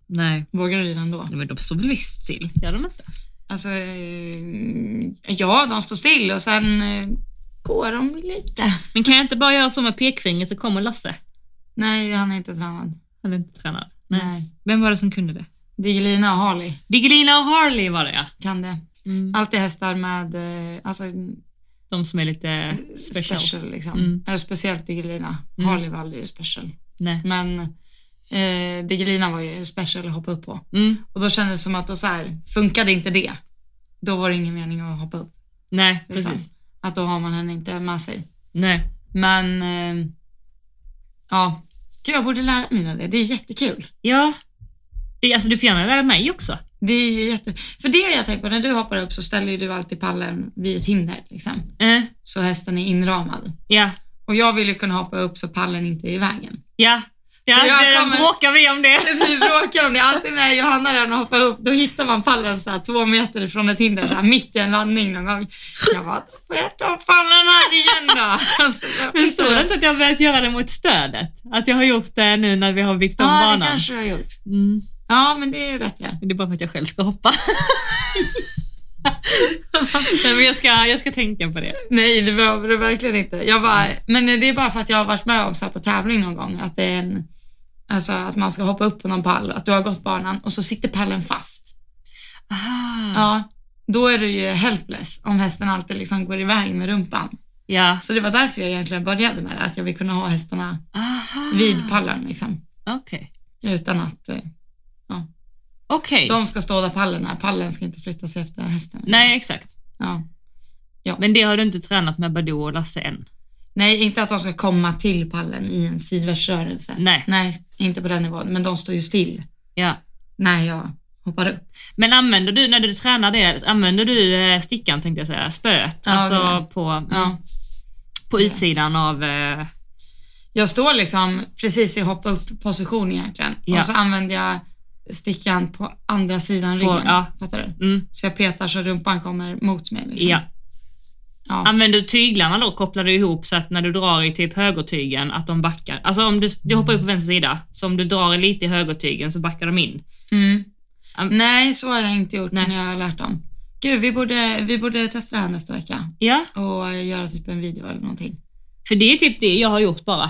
B: Nej.
A: Vågar du rida ändå?
B: Nej, men de står väl visst still, gör de inte?
A: Alltså, eh, ja, de står still och sen eh, går de lite.
B: Men kan jag inte bara göra så med pekfingret så kommer Lasse?
A: Nej, han är inte tränad.
B: Han är inte tränad. Nej.
A: Nej.
B: Vem var det som kunde det?
A: Digelina och Harley
B: Digelina och Harley var det ja.
A: kan det.
B: Mm.
A: Alltid hästar med, eh, alltså
B: De som är lite Eh, special.
A: special, liksom.
B: Mm.
A: Eller speciellt Digelina.
B: Mm.
A: Harley var aldrig special.
B: Nej.
A: Men eh, Digelina var ju special att hoppa upp på.
B: Mm.
A: Och då kändes det som att då så här, funkade inte det, då var det ingen mening att hoppa upp.
B: Nej,
A: liksom.
B: precis.
A: Att då har man henne inte med sig.
B: Nej.
A: Men eh, ja, Gud, jag borde lära mig det. Det är jättekul.
B: Ja. Det, alltså, du får gärna lära mig också.
A: Det är ju jätte... För det jag tänker på, när du hoppar upp så ställer ju du alltid pallen vid ett hinder. Liksom.
B: Eh,
A: Så hästen är inramad.
B: ja.
A: Och jag vill ju kunna hoppa upp så pallen inte är i vägen.
B: Ja. Ja,
A: jag
B: det
A: kommer-
B: bråkar vi om det.
A: Vi bråkar om det. Alltid när Johanna redan har hoppat upp, då hittar man pallen så här, två meter från ett hinder, så här, mitt i en landning någon gång. Jag bara, får jag ta pallen här igen då? Alltså, jag-
B: Men såg du inte att jag har börjat göra det mot stödet? Att jag har gjort det nu när vi har byggt om
A: Ja, det
B: banan?
A: kanske du har gjort.
B: Mm.
A: Ja, men det är ju bättre.
B: Men Det är bara för att jag själv ska hoppa. Nej, men jag, ska, jag ska tänka på det.
A: Nej, det behöver du verkligen inte. Jag bara, men det är bara för att jag har varit med om så här på tävling någon gång, att det är en, alltså att man ska hoppa upp på någon pall, att du har gått banan och så sitter pallen fast.
B: Ah.
A: Ja, då är du ju helpless om hästen alltid liksom går iväg med rumpan.
B: Ja.
A: Så det var därför jag egentligen började med det, att jag vill kunna ha hästarna
B: Ah.
A: vid pallen liksom.
B: Okej.
A: Utan att eh,
B: Okej.
A: de ska stå där pallen är. Pallen ska inte flytta sig efter hästen.
B: Nej, exakt.
A: Ja.
B: Men det har du inte tränat med Badou och Lasse än?
A: Nej, inte att de ska komma till pallen i en sidvärtsrörelse.
B: Nej.
A: Nej, inte på den nivån. Men de står ju still
B: Ja.
A: när jag hoppar upp.
B: Men använder du, när du tränar det, använder du eh, stickan tänkte jag säga, spöet,
A: Ja, det gör
B: alltså
A: jag.
B: på,
A: Ja.
B: på utsidan av... eh,
A: Jag står liksom precis i hoppa upp-position egentligen
B: Ja.
A: och så använder jag stickan på andra sidan
B: På-
A: ryggen.
B: ja.
A: Fattar du?
B: Mm,
A: Så jag petar så rumpan kommer mot mig. Liksom.
B: ja.
A: Ja.
B: Använder du tyglarna då, kopplar du ihop så att när du drar i typ högertygen att de backar. Alltså om du, du hoppar upp på vänster sida, så om du drar lite i högertygen så backar de in.
A: Mm.
B: An-
A: Nej, så har jag inte gjort
B: Nej.
A: när jag har lärt dem. Gud, vi borde, vi borde testa det här nästa vecka
B: Ja,
A: och göra typ en video eller någonting.
B: för det är typ det jag har gjort bara.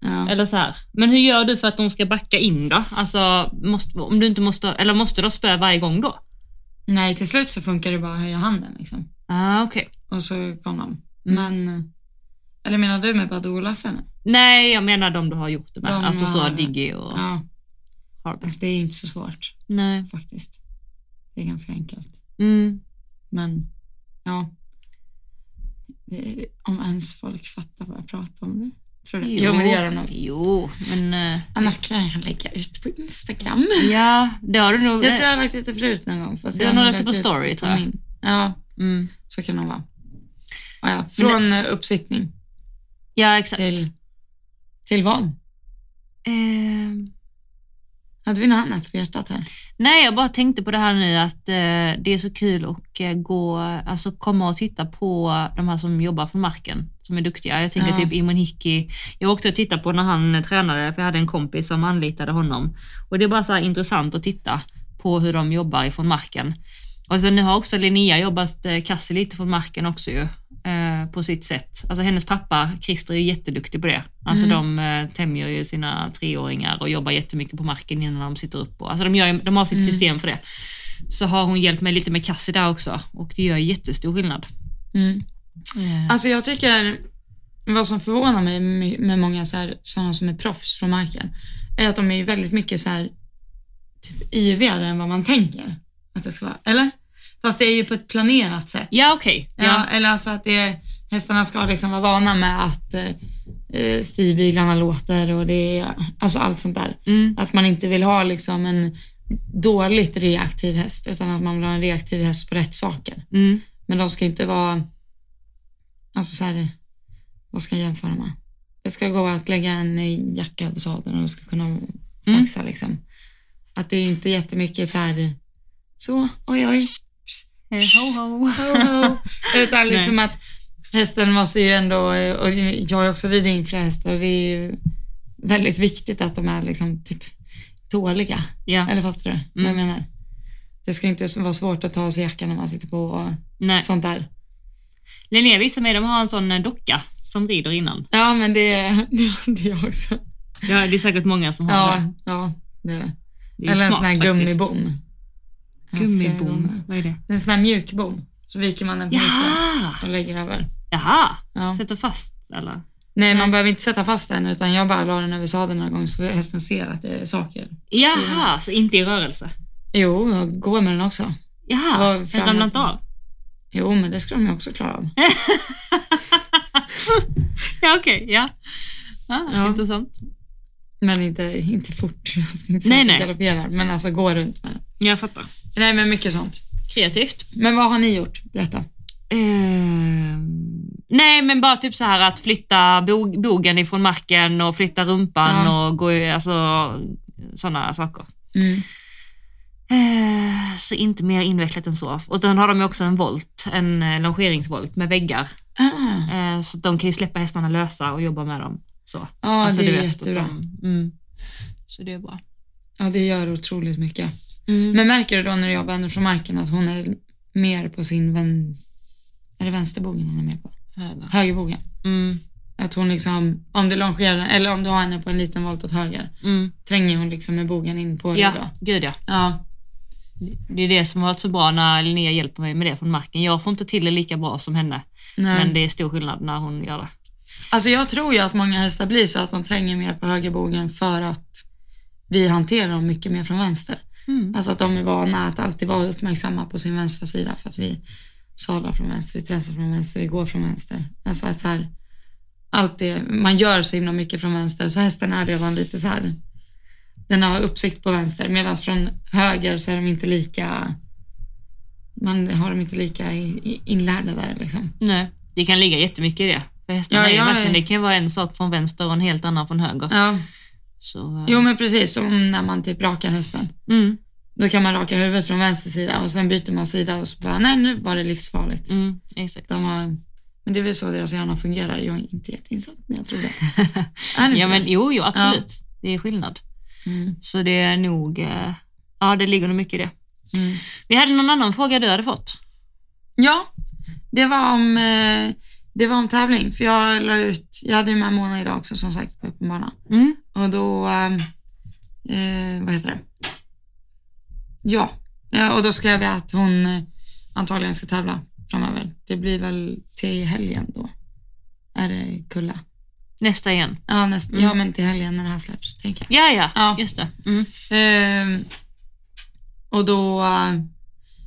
A: Ja.
B: Eller så här. Men hur gör du för att de ska backa in då? Alltså, måste, om du inte måste, eller måste du ha spö varje gång då?
A: Nej, till slut så funkar det bara att höja handen liksom.
B: Ah, okej.
A: Och så kom de. Men, eller menar du med Badoo-Lasse nu?
B: Nej, jag menar de du har gjort det med.
A: De
B: alltså så
A: har-
B: Diggy och
A: Ja,
B: Harvey.
A: alltså det är inte så svårt
B: Nej.
A: faktiskt. Det är ganska enkelt.
B: Mm.
A: Men ja, det, om ens folk fattar vad jag pratar om nu. Tror du? Jo, men det gör de nog.
B: Jo, men eh,
A: Annars kan jag lägga ut på Instagram.
B: ja, det har du nog.
A: Jag tror jag har lagt ut det förut någon gång. fast
B: Du har
A: jag
B: nog
A: har
B: lagt det på
A: lagt ut
B: story, tror jag.
A: min. Ja,
B: mm.
A: så kan det nog vara. Ja, ja. Från eh, uppsittning
B: Ja, exakt.
A: till, till vad?
B: Ehm,
A: Hade vi något annat på hjärtat här?
B: nej, jag bara tänkte på det här nu att eh, det är så kul att eh, gå, alltså komma och titta på de här som jobbar från marken som är duktiga. Jag tänker
A: Ja.
B: typ Imon Hickey. Jag åkte och tittade på när han eh, tränade, för jag hade en kompis som anlitade honom. Och det är bara så här intressant att titta på hur de jobbar ifrån marken. Och sen nu har också Linnea jobbat eh, Kasse lite från marken också ju, eh, på sitt sätt. Alltså hennes pappa Christer är jätteduktig på det. Alltså
A: Mm.
B: de eh, tämjer ju sina treåringar och jobbar jättemycket på marken innan de sitter upp. Och, alltså de, gör, ju- de har sitt
A: Mm.
B: system för det. Så har hon hjälpt mig lite med Kasse där också och det gör jättestor skillnad.
A: Mm.
B: Eh,
A: Alltså jag tycker, vad som förvånar mig med- med många så här, sådana som är proffs från marken, är att de är ju väldigt mycket så här, typ yvigare än vad man tänker att det ska vara. Eller? Fast det är ju på ett planerat sätt.
B: Ja okej.
A: Ja,
B: Ja.
A: Eller alltså att det, hästarna ska liksom vara vana med att eh, stigbyglarna låter och det är, alltså allt sånt där.
B: Mm.
A: Att man inte vill ha liksom en dåligt reaktiv häst, utan att man vill ha en reaktiv häst på rätt saker.
B: Mm.
A: Men de ska inte vara, alltså så här, vad ska jag jämföra med? Det ska gå att lägga en jacka över sadeln och de ska kunna faxa liksom. Att det är ju inte jättemycket så här, så, oj oj,
B: Eh, ho, ho.
A: ho, ho. Utan liksom att hästen måste ju ändå, eh, och jag har också ridit in flera hästar och det är ju väldigt viktigt att de är liksom typ tåliga.
B: Ja. Mm.
A: Eller fattar du vad jag menar? Det ska inte vara svårt att ta av sig jackan när man sitter på och
B: Nej.
A: sånt där.
B: Linnea visade mig, de har en sån eh, docka som rider innan.
A: Ja, men det, det, det är också.
B: Ja, det är säkert många som har det.
A: Ja, ja, det är det.
B: Det är
A: Eller en
B: smart
A: sån här
B: faktiskt.
A: gummibom. Ja, flera gånger.
B: Gummibom, vad är det?
A: En sån här mjuk bom. Så viker man den på mitten
B: Jaha!
A: och lägger över.
B: Jaha!
A: Ja.
B: Sätter fast alla.
A: Nej, man behöver inte sätta fast den utan jag bara la den över sadeln några gånger så hästen ser att det är saker.
B: Jaha, så inte i rörelse.
A: Jo, jag går med den också. Ja,
B: Jaha, den
A: framåt.
B: ramlar inte av.
A: Jo, men det ska de ju också klara av.
B: Mm. Ja, okej, ja. Ah,
A: Ja.
B: Intressant.
A: Men inte, inte fort. Alltså, inte så
B: Nej,
A: att
B: nej.
A: den galopperar, men alltså gå runt med den.
B: Jag fattar.
A: Nej, men mycket sånt.
B: Kreativt.
A: Men vad har ni gjort? Berätta.
B: Ehm, nej, men bara typ så här att flytta bog, bogen ifrån marken och flytta rumpan och gå i- alltså sådana saker.
A: Mm.
B: Eh, Så inte mer invecklat än så. Och sen har de ju också en volt, en eh, longeringsvolt med väggar.
A: Ah,
B: Eh, Så att de kan ju släppa hästarna lösa och jobba med dem. Så.
A: ja,
B: Alltså,
A: ah, det
B: du
A: är
B: vet att
A: jättebra.
B: de- mm. Så det är bra.
A: Ja, det gör otroligt mycket.
B: Mm.
A: Men märker du då när du jobbar ändå från marken att hon är mer på sin vänster... Är det vänsterbogen hon är mer på? Högerbogen.
B: Mm.
A: Att hon liksom, om du longerar, eller om du har henne på en liten volt åt höger,
B: Mm.
A: tränger hon liksom med bogen in på dig då?
B: Ja, gud ja.
A: Ja.
B: Det är det som har varit så bra när Linnea hjälper mig med det från marken. Jag får inte till det lika bra som henne.
A: Nej.
B: Men det är stor skillnad när hon gör det.
A: Alltså jag tror ju att många hästar blir så att de tränger mer på högerbogen för att vi hanterar dem mycket mer från vänster.
B: Mm.
A: Alltså att de är vana att alltid vara uppmärksamma på sin vänstra sida för att vi sadlar från vänster, vi tränsar från vänster, vi går från vänster. Alltså att så här, allt det, man gör så himla mycket från vänster så hästen är redan lite så här, den har uppsikt på vänster medan från höger så är de inte lika, man har dem inte lika i- i- inlärda där liksom.
B: Nej. Det kan ligga jättemycket i det. För hästarna
A: Ja,
B: är ju
A: jag
B: verkligen,
A: är-
B: det kan ju vara en sak från vänster och en helt annan från höger.
A: Ja,
B: Så, eh,
A: jo men precis som när man typ rakar hästen.
B: mm,
A: Då kan man raka huvudet från vänster sida och sen byter man sida och så bara, nej nu var det livsfarligt.
B: mm, exakt.
A: De har, men det är väl så deras hjärna fungerar. Jag är inte jätteinsatt, men jag tror det. Är det
B: Ja,
A: inte
B: men,
A: det?
B: jo, jo, absolut. Det är skillnad.
A: Mm.
B: Så det är nog, eh, ja det ligger nog mycket i det.
A: Mm.
B: Vi hade någon annan fråga du hade fått.
A: Ja, det var, om, eh, det var om tävling. För jag la ut, jag hade ju med Mona idag också som sagt på öppen bana.
B: Mm.
A: Och då, eh, eh, vad heter det? Ja, eh, och då skrev jag att hon eh, antagligen ska tävla framöver. Det blir väl till helgen då. Är det Kulla?
B: Nästa igen.
A: Ja, näst,
B: Mm.
A: ja men till helgen när det här släpps, tänker jag.
B: Ja, ja,
A: Ja.
B: just det. Mm.
A: Ehm, och då eh,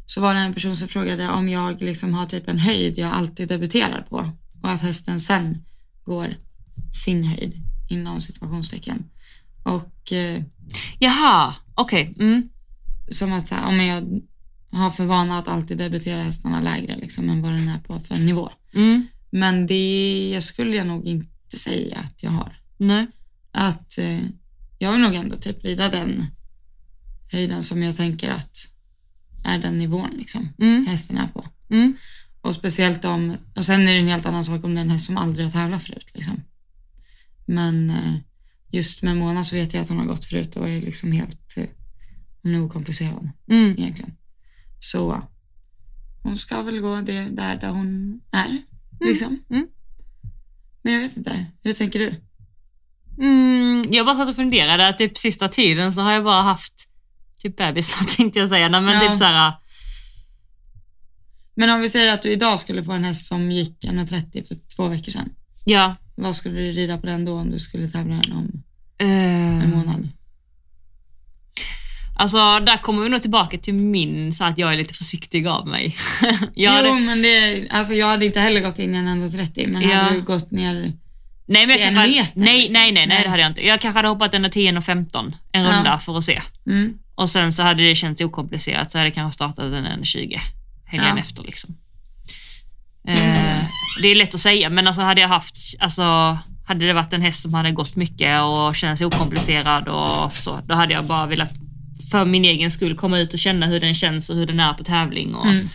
A: så var det en person som frågade om jag liksom har typ en höjd jag alltid debuterar på och att hästen sen går sin höjd inom situationstecken. Och eh,
B: Jaha, okej. Mm.
A: som att så här, om jag har för vana att alltid debutera hästarna lägre liksom, än vad den är på för nivå.
B: Mm.
A: Men det skulle jag nog inte säga att jag har.
B: Nej.
A: att eh, jag vill nog ändå typ rida den höjden som jag tänker att är den nivån liksom
B: Mm.
A: hästen är på.
B: Mm.
A: Och speciellt om, och sen är det en helt annan sak om det är en häst som aldrig har tävlat förut liksom. Men eh, just med Mona så vet jag att hon har gått förut och är liksom helt, eh, hon är okomplicerad
B: Mm.
A: egentligen. Så hon ska väl gå det där, där hon är liksom.
B: mm.
A: Men jag vet inte, hur tänker du?
B: Mm. Jag bara satt och funderade, typ sista tiden så har jag bara haft typ bebisar tänkte jag säga. Nej, men
A: Ja.
B: typ så här,
A: Men om vi säger att du idag skulle få en häst som gick 1,30 för två veckor sedan.
B: ja.
A: Vad skulle du rida på den då om du skulle tävla den om
B: Eh,
A: en månad?
B: Alltså där kommer vi nog tillbaka till min, så här att jag är lite försiktig av mig. jag hade,
A: Jo, men det, alltså jag hade inte heller gått in i en 1,30 men
B: Ja.
A: hade du gått ner...
B: nej, men jag
A: det är en
B: kanske, hade-
A: meter,
B: nej,
A: liksom.
B: nej, nej, nej,
A: Nej.
B: det hade jag inte. Jag kanske hade hoppat 1,10 och 15 en
A: Ja.
B: runda för att se.
A: Mm.
B: Och sen så hade det känts okomplicerat så hade jag kanske startat den en 20 helgen
A: Ja.
B: efter. Liksom. Eh, det är lätt att säga, men alltså hade jag haft, alltså hade det varit en häst som hade gått mycket och känns okomplicerad och så, då hade jag bara velat för min egen skull komma ut och känna hur den känns och hur den är på tävling och
A: Mm.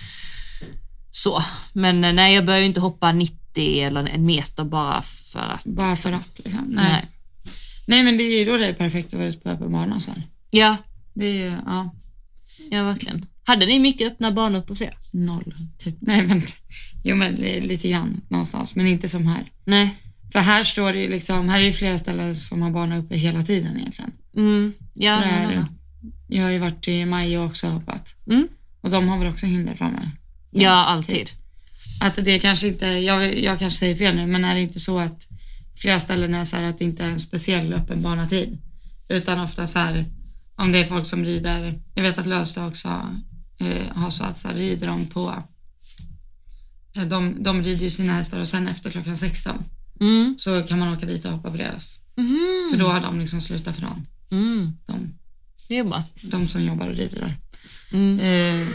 B: så. Men eh, nej, jag börjar ju inte hoppa 90 eller en meter bara för att,
A: Bara för att liksom. Nej.
B: nej.
A: Nej. men det är ju då det är perfekt att vara ute på öppen bana sen.
B: Ja,
A: Det är ju, ja,
B: ja verkligen. Hade ni mycket öppna banor på C?
A: noll. Typ. Nej, men, jo, men li- lite grann någonstans, men inte som här.
B: Nej.
A: För här står det ju liksom, här är ju flera ställen som har bana uppe hela tiden egentligen.
B: Mm. Ja,
A: så det
B: ja,
A: är
B: ja.
A: det. Jag har ju varit i maj och också hoppat.
B: Mm.
A: Och de har väl också hinder framme.
B: Ja,
A: typ.
B: alltid.
A: Att det kanske inte, jag, jag kanske säger fel nu, men är det inte så att flera ställen är så här att det inte är en speciell öppen banatid? Utan ofta så här, om det är folk som rider, jag vet att Lövsta också eh, har så att så här, rider de på, eh, de, de rider ju sina hästar och sen efter klockan 16
B: Mm.
A: så kan man åka dit och hoppa på deras.
B: Mm.
A: För då har de liksom slutat för dagen,
B: Mm.
A: de,
B: Det är bra.
A: de som jobbar och rider där.
B: Mm.
A: Eh,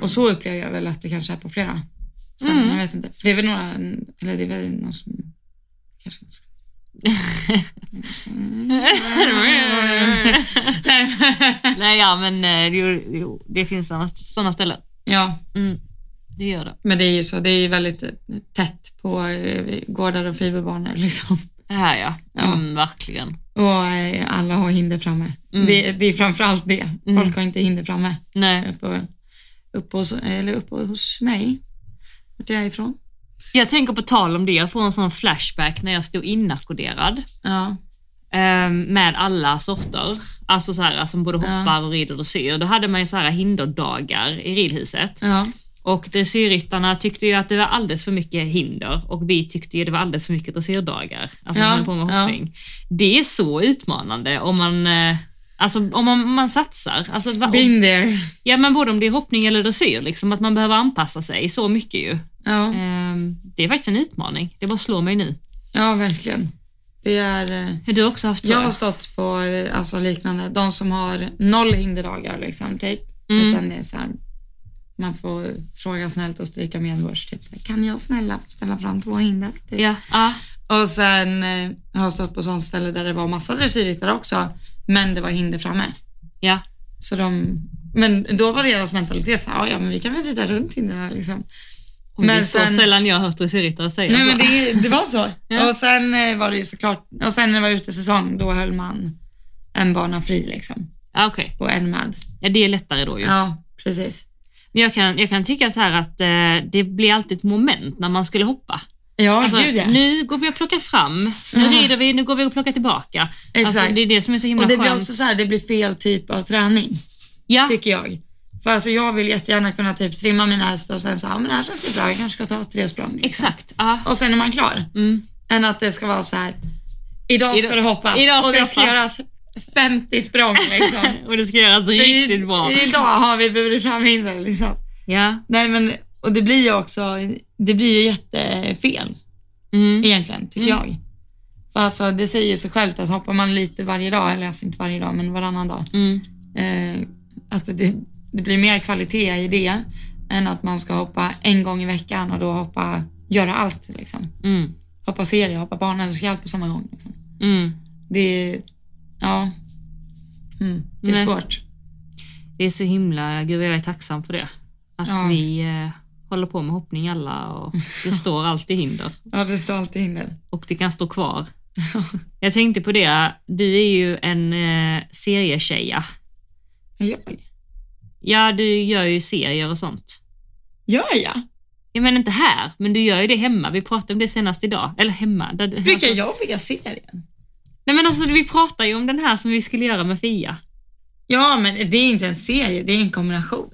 A: och så upplever jag väl att det kanske är på flera ställen.
B: Mm.
A: Jag vet inte. För det är väl några, eller det är väl någon som kanske inte ska... Nej.
B: Nej, ja, men eh, det, jo, det finns sådana ställen.
A: ja,
B: Mm. Det gör det.
A: men det är ju så. Det är ju väldigt eh, tätt på eh, gårdar och fiberbanor liksom.
B: Det här ja.
A: Ja.
B: Mm, verkligen.
A: Och eh, alla har hinder framme.
B: Mm.
A: Det, det är framförallt det. Folk
B: Mm.
A: har inte hinder framme.
B: Nej.
A: Uppe, uppe, hos, eller uppe hos mig, vart jag är ifrån.
B: Jag tänker på tal om det, jag får en sån flashback när jag stod inackorderad
A: Ja.
B: eh, med alla sorter. Alltså så här, som både
A: Ja.
B: hoppar och rider och syr. Då hade man ju så här hinderdagar i ridhuset.
A: ja.
B: Och Och dressyrryttarna tyckte ju att det var alldeles för mycket hinder och vi tyckte ju det var alldeles för mycket dressyrdagar. Alltså
A: Ja,
B: man höll på med
A: ja.
B: hoppning. Det är så utmanande om man, eh, alltså, om man, om man satsar. Alltså, va-
A: Been there.
B: ja, men både om det är hoppning eller dressyr, liksom, att man behöver anpassa sig så mycket ju.
A: Ja,
B: Ehm, det är faktiskt en utmaning. Det bara slår mig nu.
A: ja verkligen. Det är... eh,
B: Har du också haft så?
A: Jag har stått på eh, alltså, liknande, de som har noll hinderdagar liksom, typ.
B: Mm.
A: Utan det är så här, man får fråga snällt och stryka medhårs. Typ, så här, kan jag snälla få ställa fram två hinder? Typ.
B: Ja, ja.
A: Och sen eh, har jag stått på sånt ställe där det var massa dressyrryttare också, men det var hinder framme.
B: ja.
A: Så de, men då var deras mentalitet så här, "Ja, ja men vi kan väl rida runt hindren här, liksom.
B: Och det är
A: Men
B: så
A: sen-
B: sällan jag har hört dressyrryttare säga
A: Nej
B: så.
A: men det, det var så.
B: Ja.
A: Och sen eh, var det ju såklart, och sen när det var utesäsong då höll man en bana fri liksom
B: Ja, okej.
A: och en med.
B: ja, det är lättare då ju.
A: Ja, precis.
B: Men jag kan, jag kan tycka så här att eh, det blir alltid ett moment när man skulle hoppa.
A: Ja,
B: Alltså,
A: gud ja.
B: Nu går vi och plockar fram, nu
A: Mhm.
B: rider vi, nu går vi och plockar tillbaka. Alltså,
A: Exakt.
B: det är det som är så himla
A: och det blir
B: skönt.
A: också så här, det blir fel typ av träning,
B: ja,
A: tycker jag. För alltså jag vill jättegärna kunna typ trimma mina hästar och sen så här, "Ja, men det här känns ju bra, jag kanske ska ta tre språng. liksom.
B: exakt. Ja.
A: Och sen är man klar.
B: Mm.
A: Än att det ska vara så här, idag ska
B: Idag-
A: det hoppas
B: idag ska
A: och
B: det
A: det ska
B: hoppas.
A: göras 50 språng liksom.
B: Och det ska göras riktigt bra.
A: I, idag har vi burit fram hinder liksom.
B: Ja.
A: Nej men, och det blir ju också, det blir ju jättefel
B: Mm.
A: egentligen, tycker
B: Mm.
A: jag. För alltså, det säger ju sig självt att hoppar man lite varje dag, eller alltså inte varje dag, men varannan dag,
B: Mm.
A: eh, att det, det blir mer kvalitet i det än att man ska hoppa en gång i veckan och då hoppa, göra allt liksom.
B: Mm.
A: Hoppa serie, hoppa barnälskarhjälp på samma gång. Liksom.
B: Mm.
A: Det är, ja, mm, det är
B: Nej.
A: svårt.
B: Det är så himla, gud jag är tacksam för det. Att
A: Ja.
B: vi eh, håller på med hoppning alla och det står alltid hinder.
A: Ja, det står alltid hinder.
B: och det kan stå kvar. Jag tänkte på det, du är ju en eh, serietjeja.
A: Men Jag?
B: Ja, du gör ju serier och sånt.
A: Gör jag?
B: Jag menar inte här, men du gör ju det hemma. Vi pratade om det senast idag. Eller hemma. Där du,
A: Brukar
B: alltså,
A: jag vilja serien?
B: nej men alltså vi pratade ju om den här som vi skulle göra med Fia.
A: Ja, men det är inte en serie, det är en kombination.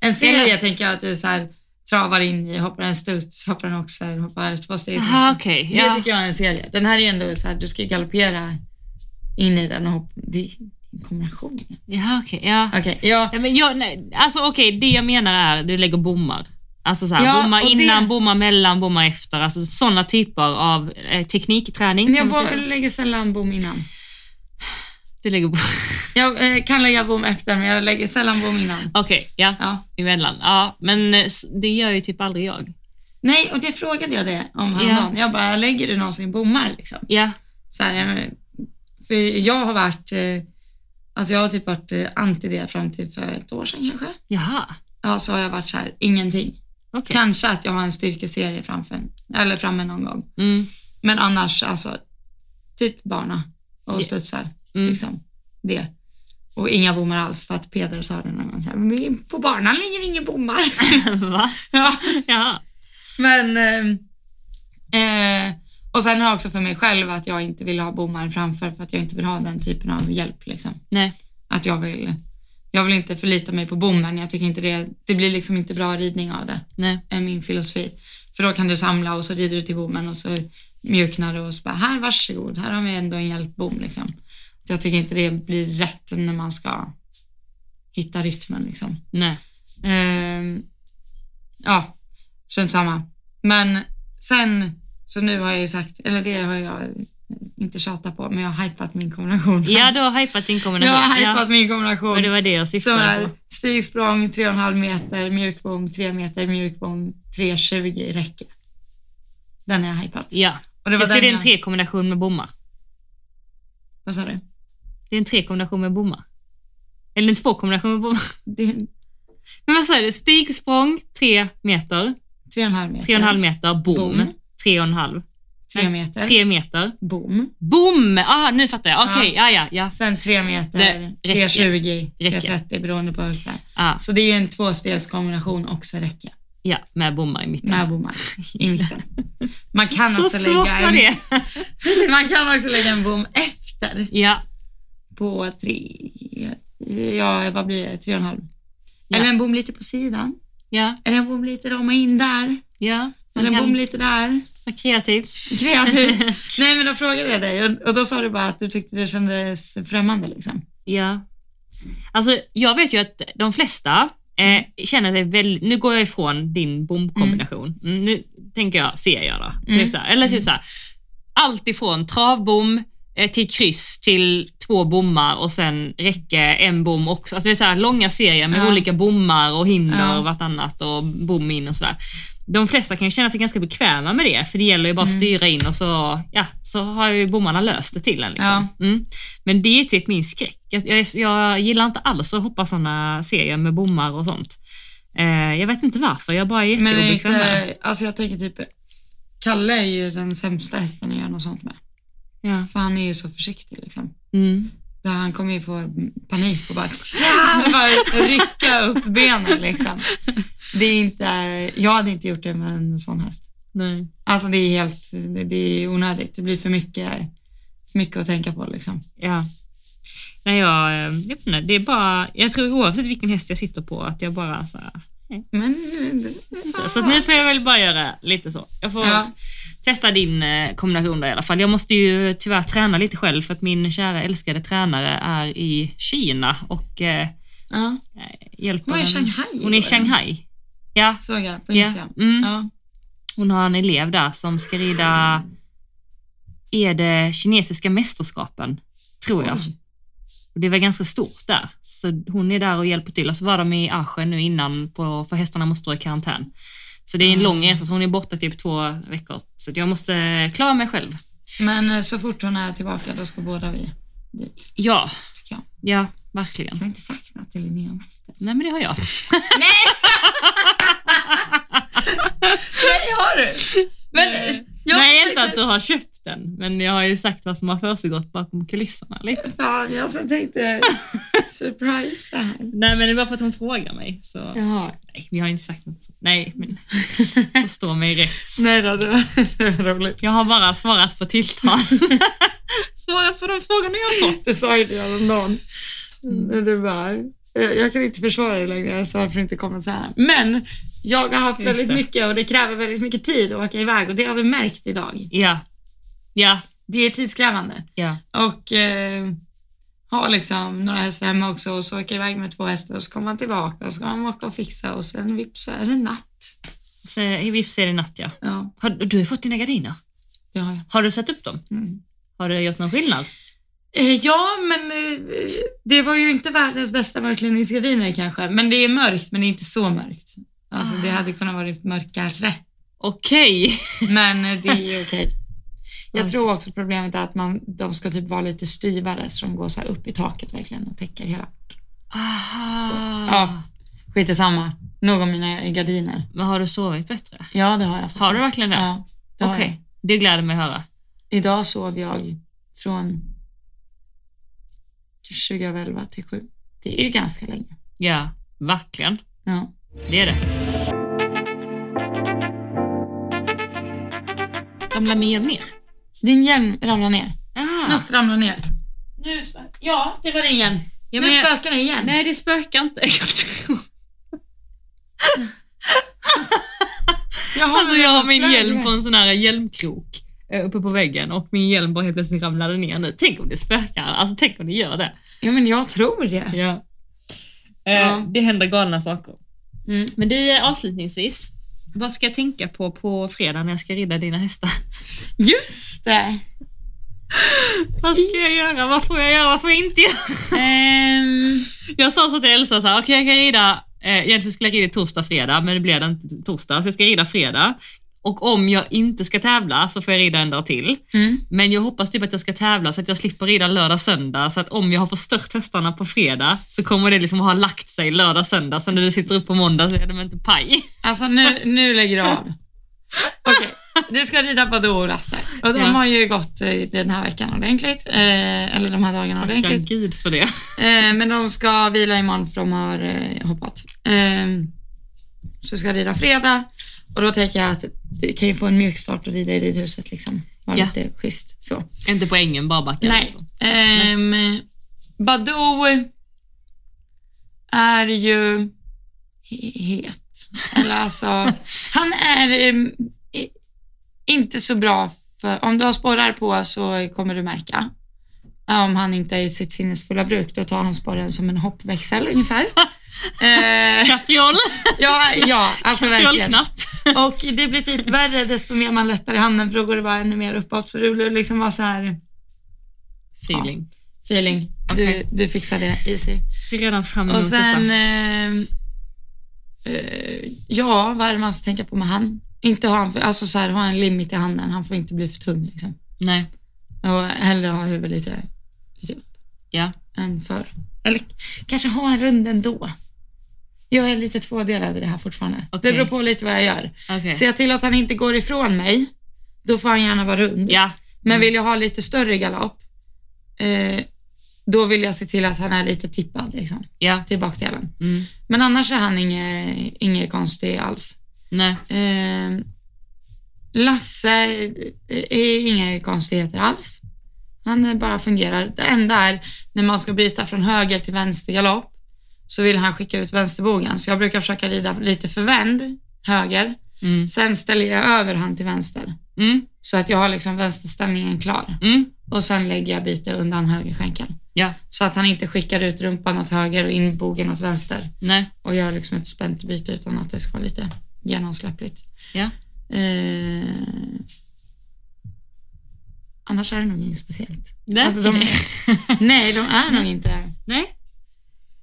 A: En serie
B: Eller-
A: tänker jag att du så här, travar in i, hoppar en studs, hoppar en oxer, hoppar två steg.
B: Jaha, okej.
A: Det
B: Ja.
A: tycker jag är en serie. Den här är ändå så här, du ska ju galoppera in i den och hoppa. Det är en kombination.
B: Jaha, okej. Ja.
A: Okej, ja.
B: Nej, men jag, nej, alltså okej, det jag menar är du lägger bommar. Alltså så här,
A: Ja,
B: bommar
A: och
B: innan,
A: det-
B: bommar mellan, bommar efter. Alltså sådana typer av eh, teknikträning.
A: Men
B: kan
A: jag
B: man
A: bo-
B: säga.
A: lägger sällan bom innan.
B: Du lägger bom...
A: Jag eh, kan lägga bom efter, men jag lägger sällan bom innan.
B: Okej, ja.
A: Ja.
B: emellan. Ja, men eh, s- det gör ju typ aldrig jag.
A: Nej, och det frågade jag det om häromdagen. Jag bara, lägger du någonsin bommar liksom?
B: Ja,
A: så här, eh, för jag har varit, eh, alltså jag har typ varit eh, anti det fram till för ett år sedan kanske.
B: jaha.
A: Ja, så har jag varit så här, ingenting.
B: Okej.
A: Kanske att jag har en styrkeserie framför, eller framme någon gång.
B: Mm,
A: Men annars, alltså, typ bana
B: Ja.
A: och studsar.
B: Mm.
A: Liksom, det. Och inga bommar alls, för att Peder sa det någon gång så här, "Men på banan ligger ingen bommar.
B: Mm. Va?
A: ja.
B: Jaha.
A: Men, eh, eh, och sen har jag också för mig själv att jag inte vill ha bommar framför för att jag inte vill ha den typen av hjälp. Liksom.
B: Nej.
A: Att jag vill, jag vill inte förlita mig på bommen. Jag tycker inte det, det blir liksom inte bra ridning av det,
B: Nej.
A: är min filosofi. För då kan du samla och så rider du till bommen och så mjuknar du och så bara, här varsågod, här har vi ändå en hjälpbom liksom. Så jag tycker inte det blir rätt när man ska hitta rytmen liksom.
B: Nej.
A: Ehm, ja, strunt samma. Men sen, så nu har jag ju sagt, eller det har jag inte tjatat på, men jag har hypat min kombination.
B: Ja, du har hypat din kombination.
A: jag har hypat
B: ja.
A: min kombination.
B: Och det var det jag
A: som
B: syftade
A: är
B: på.
A: stigsprång 3,5 meter, mjukbom 3 meter, mjukbom 3,20 i räcke. Den har jag hypat.
B: Ja.
A: Och det var
B: så det är
A: den
B: en
A: jag,
B: trekombination med bommar.
A: vad sa du?
B: Det är en trekombination med bommar. Eller en tvåkombination med bommar.
A: Det-
B: Men vad sa du? Stigsprång, tre meter.
A: 3,5 meter.
B: Tre och en halv meter, bom.
A: Bom.
B: Tre och en halv.
A: 3 meter.
B: Tre meter.
A: Bom.
B: Bom! Ah, nu fattar jag. Okej, ja, ja, ja.
A: Sen 3 meter,
B: Det- räcke.
A: 3,20,
B: Räcke.
A: 3,30 beroende på hur högt det är.
B: Ah,
A: Så Alltså, det är ju en tvåstegskombination också räcke
B: ja, med bommar i mitten.
A: med bommar i mitten. Man kan,
B: Så
A: också
B: svårt
A: lägga
B: var
A: en,
B: det.
A: man kan också lägga en bom efter
B: Ja,
A: på tre, ja vad blir det, tre och en halv.
B: Ja.
A: Eller en bom lite på sidan.
B: Ja,
A: Eller jag borde lite rama in där.
B: ja. Man
A: Eller jag borde
B: kan
A: lite där.
B: vara kreativ.
A: Kreativ. Nej men då frågade jag dig och, och då sa du bara att du tyckte det kändes främmande liksom.
B: Ja. Alltså, jag vet ju att de flesta
A: Mm.
B: eh, känner sig väldigt... Nu går jag ifrån din bomkombination. Mm, nu tänker jag serier då.
A: Mm.
B: Typ så här. Eller typ så här. Allt ifrån travbom eh, till kryss till två bommar och sen räcke, en bom också. Alltså det är så här långa serier med
A: Ja.
B: olika bommar och hinder
A: Ja.
B: och vartannat och bom in och sådär. De flesta kan ju känna sig ganska bekväma med det, för det gäller ju
A: Mm.
B: bara att styra in och så, ja, så har ju bommarna löst det till en. Liksom. Mm. Men det är typ min skräck. Jag, jag, jag gillar inte alls att hoppa sådana serier med bommar och sånt. Eh, jag vet inte varför, jag bara är
A: Men det är
B: jätteobekväm med det.
A: inte, alltså jag tänker typ, Kalle är ju den sämsta hästen att göra något sånt med.
B: Ja.
A: För han är ju så försiktig liksom.
B: Mm.
A: Där han kommer ju få panik och bara, ja, Ah, bara rycka upp benen liksom. Det är inte, jag hade inte gjort det med en sån häst.
B: Nej.
A: Alltså det är helt, det- det är onödigt. Det blir för mycket, för mycket att tänka på liksom.
B: Ja. Nej, jag, eh, jag vet inte, det är bara, jag tror oavsett vilken häst jag sitter på att jag bara så här,
A: Men,
B: Så att nu får jag väl bara göra lite så. Jag får
A: Ja.
B: testa din eh, kombination då i alla fall. Jag måste ju tyvärr träna lite själv för att min kära älskade tränare är i Kina och eh,
A: ja,
B: hjälper
A: Hon är i
B: en-
A: Shanghai,
B: Hon är i
A: var det?
B: Shanghai. Ja,
A: såg jag på
B: Ja,
A: Instagram.
B: mm.
A: Ja.
B: hon har en elev där som ska rida, är det kinesiska mästerskapen? Tror jag.
A: Oj.
B: Och det var ganska stort där. Så hon är där och hjälper till. Och så var de i Aschen nu innan, på, för hästarna måste stå i karantän. Så det är en
A: Mm.
B: lång resa, så hon är borta typ två veckor. Så att jag måste klara mig själv.
A: Men eh, så fort hon är tillbaka då ska båda vi dit,
B: Ja,
A: tycker jag.
B: ja, verkligen.
A: Jag har inte sagt något till Linnea om hästen.
B: Nej, men det har jag.
A: Nej, har du? Men, jag
B: Nej, inte att du har köpt den, men jag har ju sagt vad som har försiggått bakom kulisserna lite.
A: Fan, alltså, jag som tänkte surprise här.
B: Nej, men det var för att hon frågar mig. Så.
A: Jaha.
B: Nej, vi har inte sagt något. sånt. Nej, men förstå mig rätt.
A: Nej då, det var, det var roligt.
B: Jag har bara svarat på tilltal. svarat på de frågorna jag har fått.
A: Det sa ju du häromdagen.
B: Mm.
A: Men du bara, eh, jag kan inte försvara dig längre, alltså varför inte kommer så här. Men jag har haft
B: Just
A: väldigt
B: det.
A: mycket och det kräver väldigt mycket tid att åka iväg och det har vi märkt idag.
B: Ja, ja,
A: Det är tidskrävande
B: ja.
A: och eh, ha liksom några hästar hemma också och så åker jag iväg med två hästar och så kommer man tillbaka och så ska man åka och fixa och sen vips så är det natt.
B: Så, I vips är det natt, ja.
A: Ja,
B: Har, du har fått dina gardiner.
A: det har jag.
B: Har du satt upp dem?
A: Mm.
B: Har du gjort någon skillnad?
A: Eh, Ja, men eh, det var ju inte världens bästa mörkläggningsgardiner kanske. Men det är mörkt, men det är inte så mörkt. Alltså det hade kunnat vara mörkare.
B: Okej.
A: Men eh, det är okej. Jag
B: Okej.
A: tror också problemet är att man, de ska typ vara lite styvare så de går så här upp i taket verkligen och täcker hela.
B: Aha.
A: Så. Ja, skit i samma. Nog om mina gardiner.
B: Men har du sovit bättre?
A: Ja, det har jag faktiskt.
B: Har du verkligen det?
A: Ja, det
B: Okej,
A: har jag.
B: det gläder mig att höra.
A: Idag sov jag från 2011 till 7. Det är ju ganska länge.
B: Ja, verkligen.
A: Ja.
B: Det är det. Ramlar mer och mer?
A: Din hjälm ramlar ner.
B: Ah.
A: Något ramlar ner. Nu spö- ja, det var det igen.
B: Ja,
A: nu
B: men jag-
A: spökar det igen.
B: Nej, det spökar inte. Jag tror-
A: Jag har,
B: Alltså, jag har min
A: flagg
B: hjälm
A: här.
B: på en sån här hjälmkrok eh, uppe på väggen och min hjälm bara helt plötsligt ramlade ner nu. Tänk om det spökar, alltså tänk om det gör det.
A: Ja, men jag tror det.
B: Ja. Eh,
A: Ja.
B: Det händer galna saker.
A: Mm.
B: Men du, eh, avslutningsvis, vad ska jag tänka på på fredag när jag ska rida dina hästar?
A: Just det.
B: Vad ska jag göra? Vad får jag göra? Vad får jag inte göra?
A: Ehm,
B: Jag sa så till Elsa, så här, okej jag kan rida, eh, egentligen skulle jag rida torsdag, fredag, men det blev den inte torsdag, så jag ska rida fredag. Och om jag inte ska tävla så får jag rida en dag till.
A: mm.
B: Men jag hoppas typ att jag ska tävla så att jag slipper rida lördag, söndag, så att om jag har förstört hästarna på fredag så kommer det liksom ha lagt sig lördag, söndag, så när du sitter upp på måndag så är de inte paj.
A: Alltså nu, nu lägger du av. Okej, du ska rida Badoo och Lasse. Och de
B: Ja.
A: har ju gått eh, den här veckan ordentligt. Eh, eller de här dagarna
B: Tacka
A: ordentligt.
B: gud för det.
A: Eh, men de ska vila imorgon för de har eh, hoppat. Eh, så ska jag rida fredag och då tänker jag att det kan ju få en mjuk start att rida i ridhuset liksom. Vara
B: Ja.
A: lite schysst så.
B: Inte på ängen, bara backa.
A: Nej.
B: liksom.
A: Ehm, Badoo är ju he- het. alls. Eller alltså, han är eh, i- inte så bra för, om du har sporrar på så kommer du märka. Om han inte är i sitt sinnesfulla bruk, då tar han sporren som en hoppväxel ungefär. Eh,
B: Kaffjol,
A: ja, ja, alltså verkligen.
B: fjolknapp.
A: Och det blir typ värre desto mer man lättar i handen för då går det bara ännu mer uppåt. Så det blir liksom bara så här
B: Feeling.
A: feeling.
B: Okej. Mm,
A: Du, du fixar det, easy.
B: Ser redan fram emot
A: Och sen,
B: detta.
A: eh, eh, ja, vad är det man ska tänka på med han? Inte ha han, för, alltså så här, ha en limit i handen, han får inte bli för tung liksom.
B: Nej,
A: Och hellre ha huvudet lite, lite upp
B: ja.
A: än för. Eller kanske ha en rund ändå. Jag är lite tvådelad i det här fortfarande.
B: Okej.
A: Det beror på lite vad jag gör.
B: Okej.
A: Ser jag till att han inte går ifrån mig, då får han gärna vara rund.
B: Ja,
A: Men vill jag ha lite större galopp, eh, då vill jag se till att han är lite tippad liksom,
B: ja.
A: till bakdelen.
B: Mm.
A: Men annars är han inget inge konstig alls.
B: Nej,
A: Eh, Lasse är inga konstigheter alls. Han eh, bara fungerar. Det enda är när man ska byta från höger till vänster galopp så vill han skicka ut vänsterbogen. Så jag brukar försöka rida lite förvänd höger.
B: Mm.
A: Sen ställer jag över han till vänster
B: mm.
A: så att jag har liksom vänsterställningen klar.
B: Mm.
A: Och sen lägger jag byte undan högerskänken
B: ja.
A: så att han inte skickar ut rumpan åt höger och in bogen åt vänster
B: Nej,
A: och göra liksom ett spänt byte utan att det ska vara lite genomsläppligt.
B: ja.
A: Eh, annars är det nog inget speciellt.
B: Nej.
A: Alltså, de- Nej, de är nog inte.
B: Nej.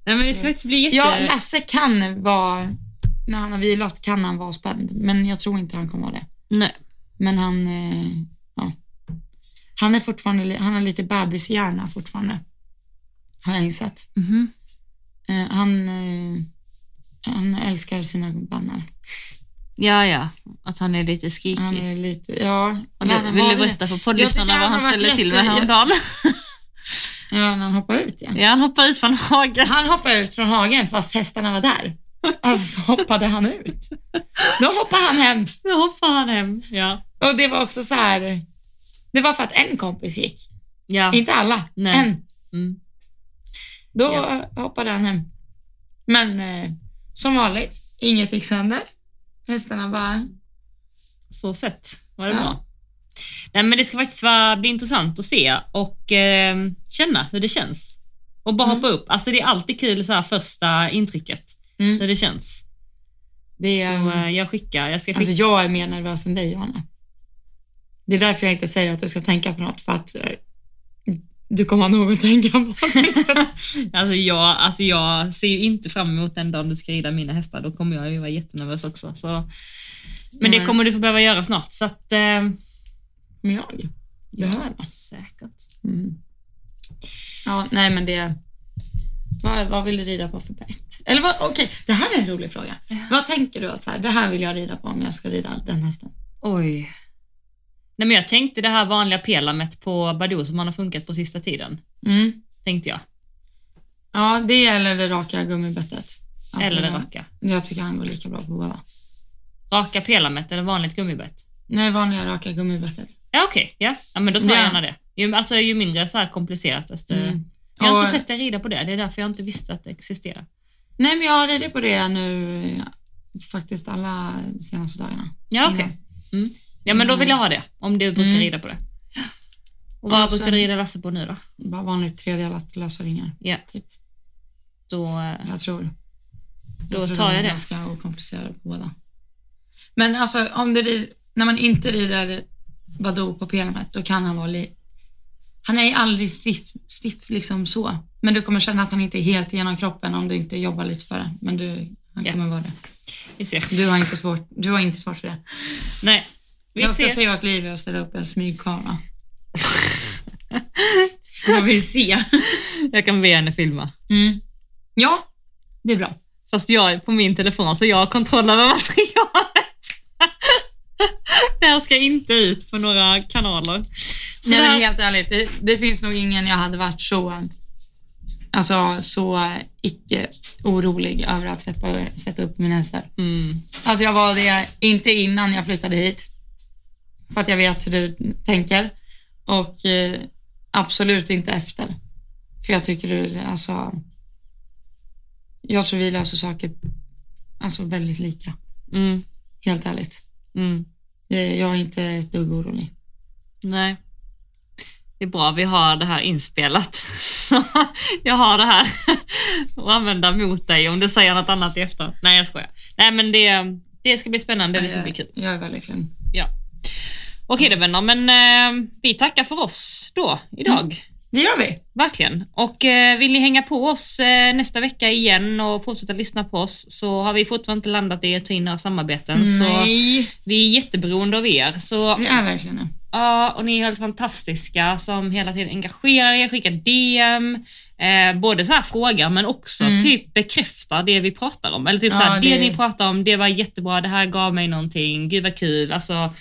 B: Nej, men det ska inte bli jätte...
A: Ja, Lasse kan vara, när han har vilat kan han vara spänd, men jag tror inte han kommer vara det.
B: Nej.
A: Men han, eh, ja. Han är fortfarande, li- han har lite bebishjärna fortfarande. Har jag insett.
B: Mhm.
A: Eh, han, eh, han älskar sina bannar.
B: Ja, ja. Att han är lite skrikig.
A: Han är lite, ja.
B: Och det-
A: han har
B: vill du
A: varit-
B: berätta för
A: Jag tycker
B: poddlyssnarna vad
A: han
B: han
A: har varit
B: ställde till med
A: jätte-
B: häromdagen?
A: Ja, när han hoppar ut ja.
B: Ja, han hoppade ut från hagen.
A: Han hoppade ut från hagen fast hästarna var där. Alltså så hoppade han ut. Då hoppade han hem.
B: Nu hoppar han hem. Ja.
A: Och det var också så här. Det var för att en kompis gick.
B: Ja.
A: Inte alla.
B: Nej.
A: En.
B: Mm.
A: Då
B: Ja.
A: eh, hoppade han hem. Men eh, som vanligt, inget gick sönder. Hästarna bara... mm.
B: Så sett var det
A: Ja.
B: bra. Nej, men det ska faktiskt vara, bli intressant att se och eh, känna hur det känns. Och bara hoppa upp. Alltså det är alltid kul så här första intrycket,
A: Mm.
B: hur det känns.
A: Det är,
B: Så eh, jag skickar, jag ska skicka.
A: alltså jag är mer nervös än dig Johanna. Det är därför jag inte säger att du ska tänka på något för att eh, du kommer ha något att tänka på.
B: Alltså jag, alltså jag ser ju inte fram emot den dagen du ska rida mina hästar. Då kommer jag ju vara jättenervös också. Så. Men det
A: Nej.
B: kommer du få behöva göra snart. Så att, eh,
A: Men jag behöver.
B: säkert.
A: Mm. Ja, nej men det... Vad, vad vill du rida på för bett? Eller vad, okej, det här är en rolig fråga. Vad tänker du att så här, det här vill jag rida på om jag ska rida den hästen?
B: Oj. Nej, men jag tänkte det här vanliga pelamet på Badoo som han har funkat på sista tiden.
A: Mm.
B: Tänkte jag.
A: Ja, det eller det raka gummibettet. Alltså,
B: eller det
A: jag-
B: raka.
A: Jag tycker han går lika bra på båda.
B: Raka pelamet eller vanligt gummibett?
A: Nej, vanliga raka gummibettet.
B: Ja okej, ja. ja men då tar
A: Ja.
B: jag gärna det. Ju, alltså, ju mindre så här komplicerat desto...
A: Mm.
B: Jag har
A: Och-
B: inte sett dig rida på det, det är därför jag inte visste att det existerar.
A: Nej, men jag har ridit på det nu eh, faktiskt alla senaste dagarna.
B: Ja okej. Mm. Ja men då vill jag ha det, om du brukar
A: Mm.
B: rida på det. Och vad
A: Och sen-
B: brukar du rida Lasse på nu då?
A: Bara vanligt tredelat lösa ringar,
B: Ja,
A: typ.
B: då... eh,
A: Jag tror.
B: Då
A: tror
B: tar
A: de
B: jag
A: är
B: det.
A: ganska okomplicerade på båda. Men alltså om det rid, när man inte rider Badoo på PLMet, då kan han vara li, Han är ju aldrig stiff, stiff liksom så. Men du kommer känna att han inte är helt genom kroppen om du inte jobbar lite för det. Men du, han
B: Ja.
A: kommer vara det.
B: Vi ser.
A: Du har inte svårt, du har inte svårt för det.
B: Nej. Vi
A: jag ska
B: ser.
A: säga åt Livia att ställa upp en smygkamera. Jag vill se.
B: Jag kan be henne filma.
A: Mm. Ja, det är bra.
B: Fast jag är på min telefon så jag har kontroll över materialet. det här ska inte ut på några kanaler. Så
A: Nej
B: det
A: men
B: här,
A: helt ärligt, det, det finns nog ingen jag hade varit så, alltså, så icke orolig över att sätta, sätta upp min hästar.
B: mm,
A: Alltså jag var det inte innan jag flyttade hit. För att jag vet hur du tänker. Och eh, absolut inte efter. För jag tycker du, alltså. Jag tror vi löser saker alltså väldigt lika,
B: Mm.
A: helt ärligt.
B: Mm.
A: Jag jag är inte ett dugg orolig.
B: Nej. Det är bra vi har det här inspelat. Så jag har det här att använda mot dig om du säger något annat i efter. Nej, jag skojar. Nej, men det, det ska bli spännande. Det ska bli kul.
A: Jag är väldigt lugn.
B: Ja. Okej då vänner, men eh, vi tackar för oss då idag.
A: Det gör vi.
B: Verkligen. Och eh, vill ni hänga på oss eh, nästa vecka igen och fortsätta lyssna på oss så har vi fortfarande inte landat i att ta in några samarbeten. Så
A: Nej,
B: vi är jätteberoende av er. Så
A: vi är verkligen det.
B: Ja, och ni är helt fantastiska som hela tiden engagerar er, skickar DM, eh, både så här frågor men också typ bekräftar det vi pratar om. Eller typ
A: Mm. Ja,
B: så här, det...
A: det-
B: ni pratar om, det var jättebra, det här gav mig någonting, gud vad kul. Alltså,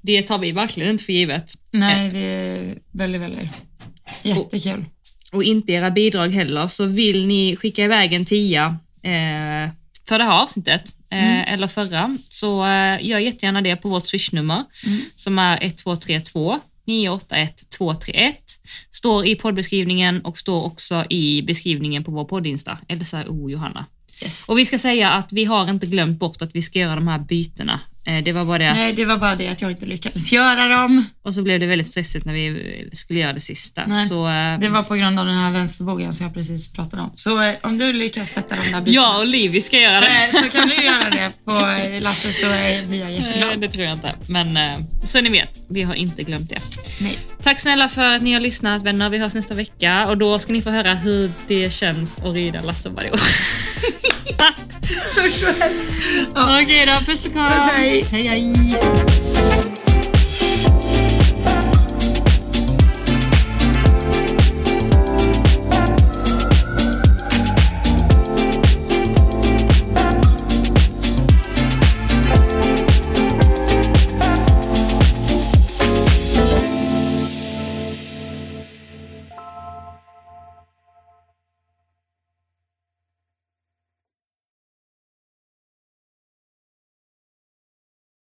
B: det tar vi verkligen inte för givet.
A: Nej, det är väldigt, väldigt jättekul.
B: och inte era bidrag heller, så vill ni skicka iväg en tia eh, för det här avsnittet, eh,
A: Mm.
B: eller förra, så eh, gör jättegärna det på vårt swishnummer
A: Mm.
B: som är 1232 981 231. Står i poddbeskrivningen och står också i beskrivningen på vår poddinsta, Elsa O Johanna.
A: Yes.
B: Och vi ska säga att vi har inte glömt bort att vi ska göra de här bytena. Eh, det var bara det att,
A: Nej, det var bara det att jag inte lyckades göra dem.
B: och så blev det väldigt stressigt när vi skulle göra det sista.
A: Nej,
B: så, eh,
A: Det var på grund av den här vänsterbogen som jag precis pratade om. Så eh, om du lyckas sätta de där bitarna
B: jag och Livi ska göra det.
A: eh, så kan du göra det på eh, Lasse så eh, blir jag
B: Nej,
A: jätteglad.
B: det tror jag inte. Men eh, så ni vet, vi har inte glömt det.
A: Nej.
B: Tack snälla för att ni har lyssnat vänner. Vi hörs nästa vecka och då ska ni få höra hur det känns att rida Lasse varje år. Okej då, puss och kram.
A: Puss, hej.
B: hej. hej.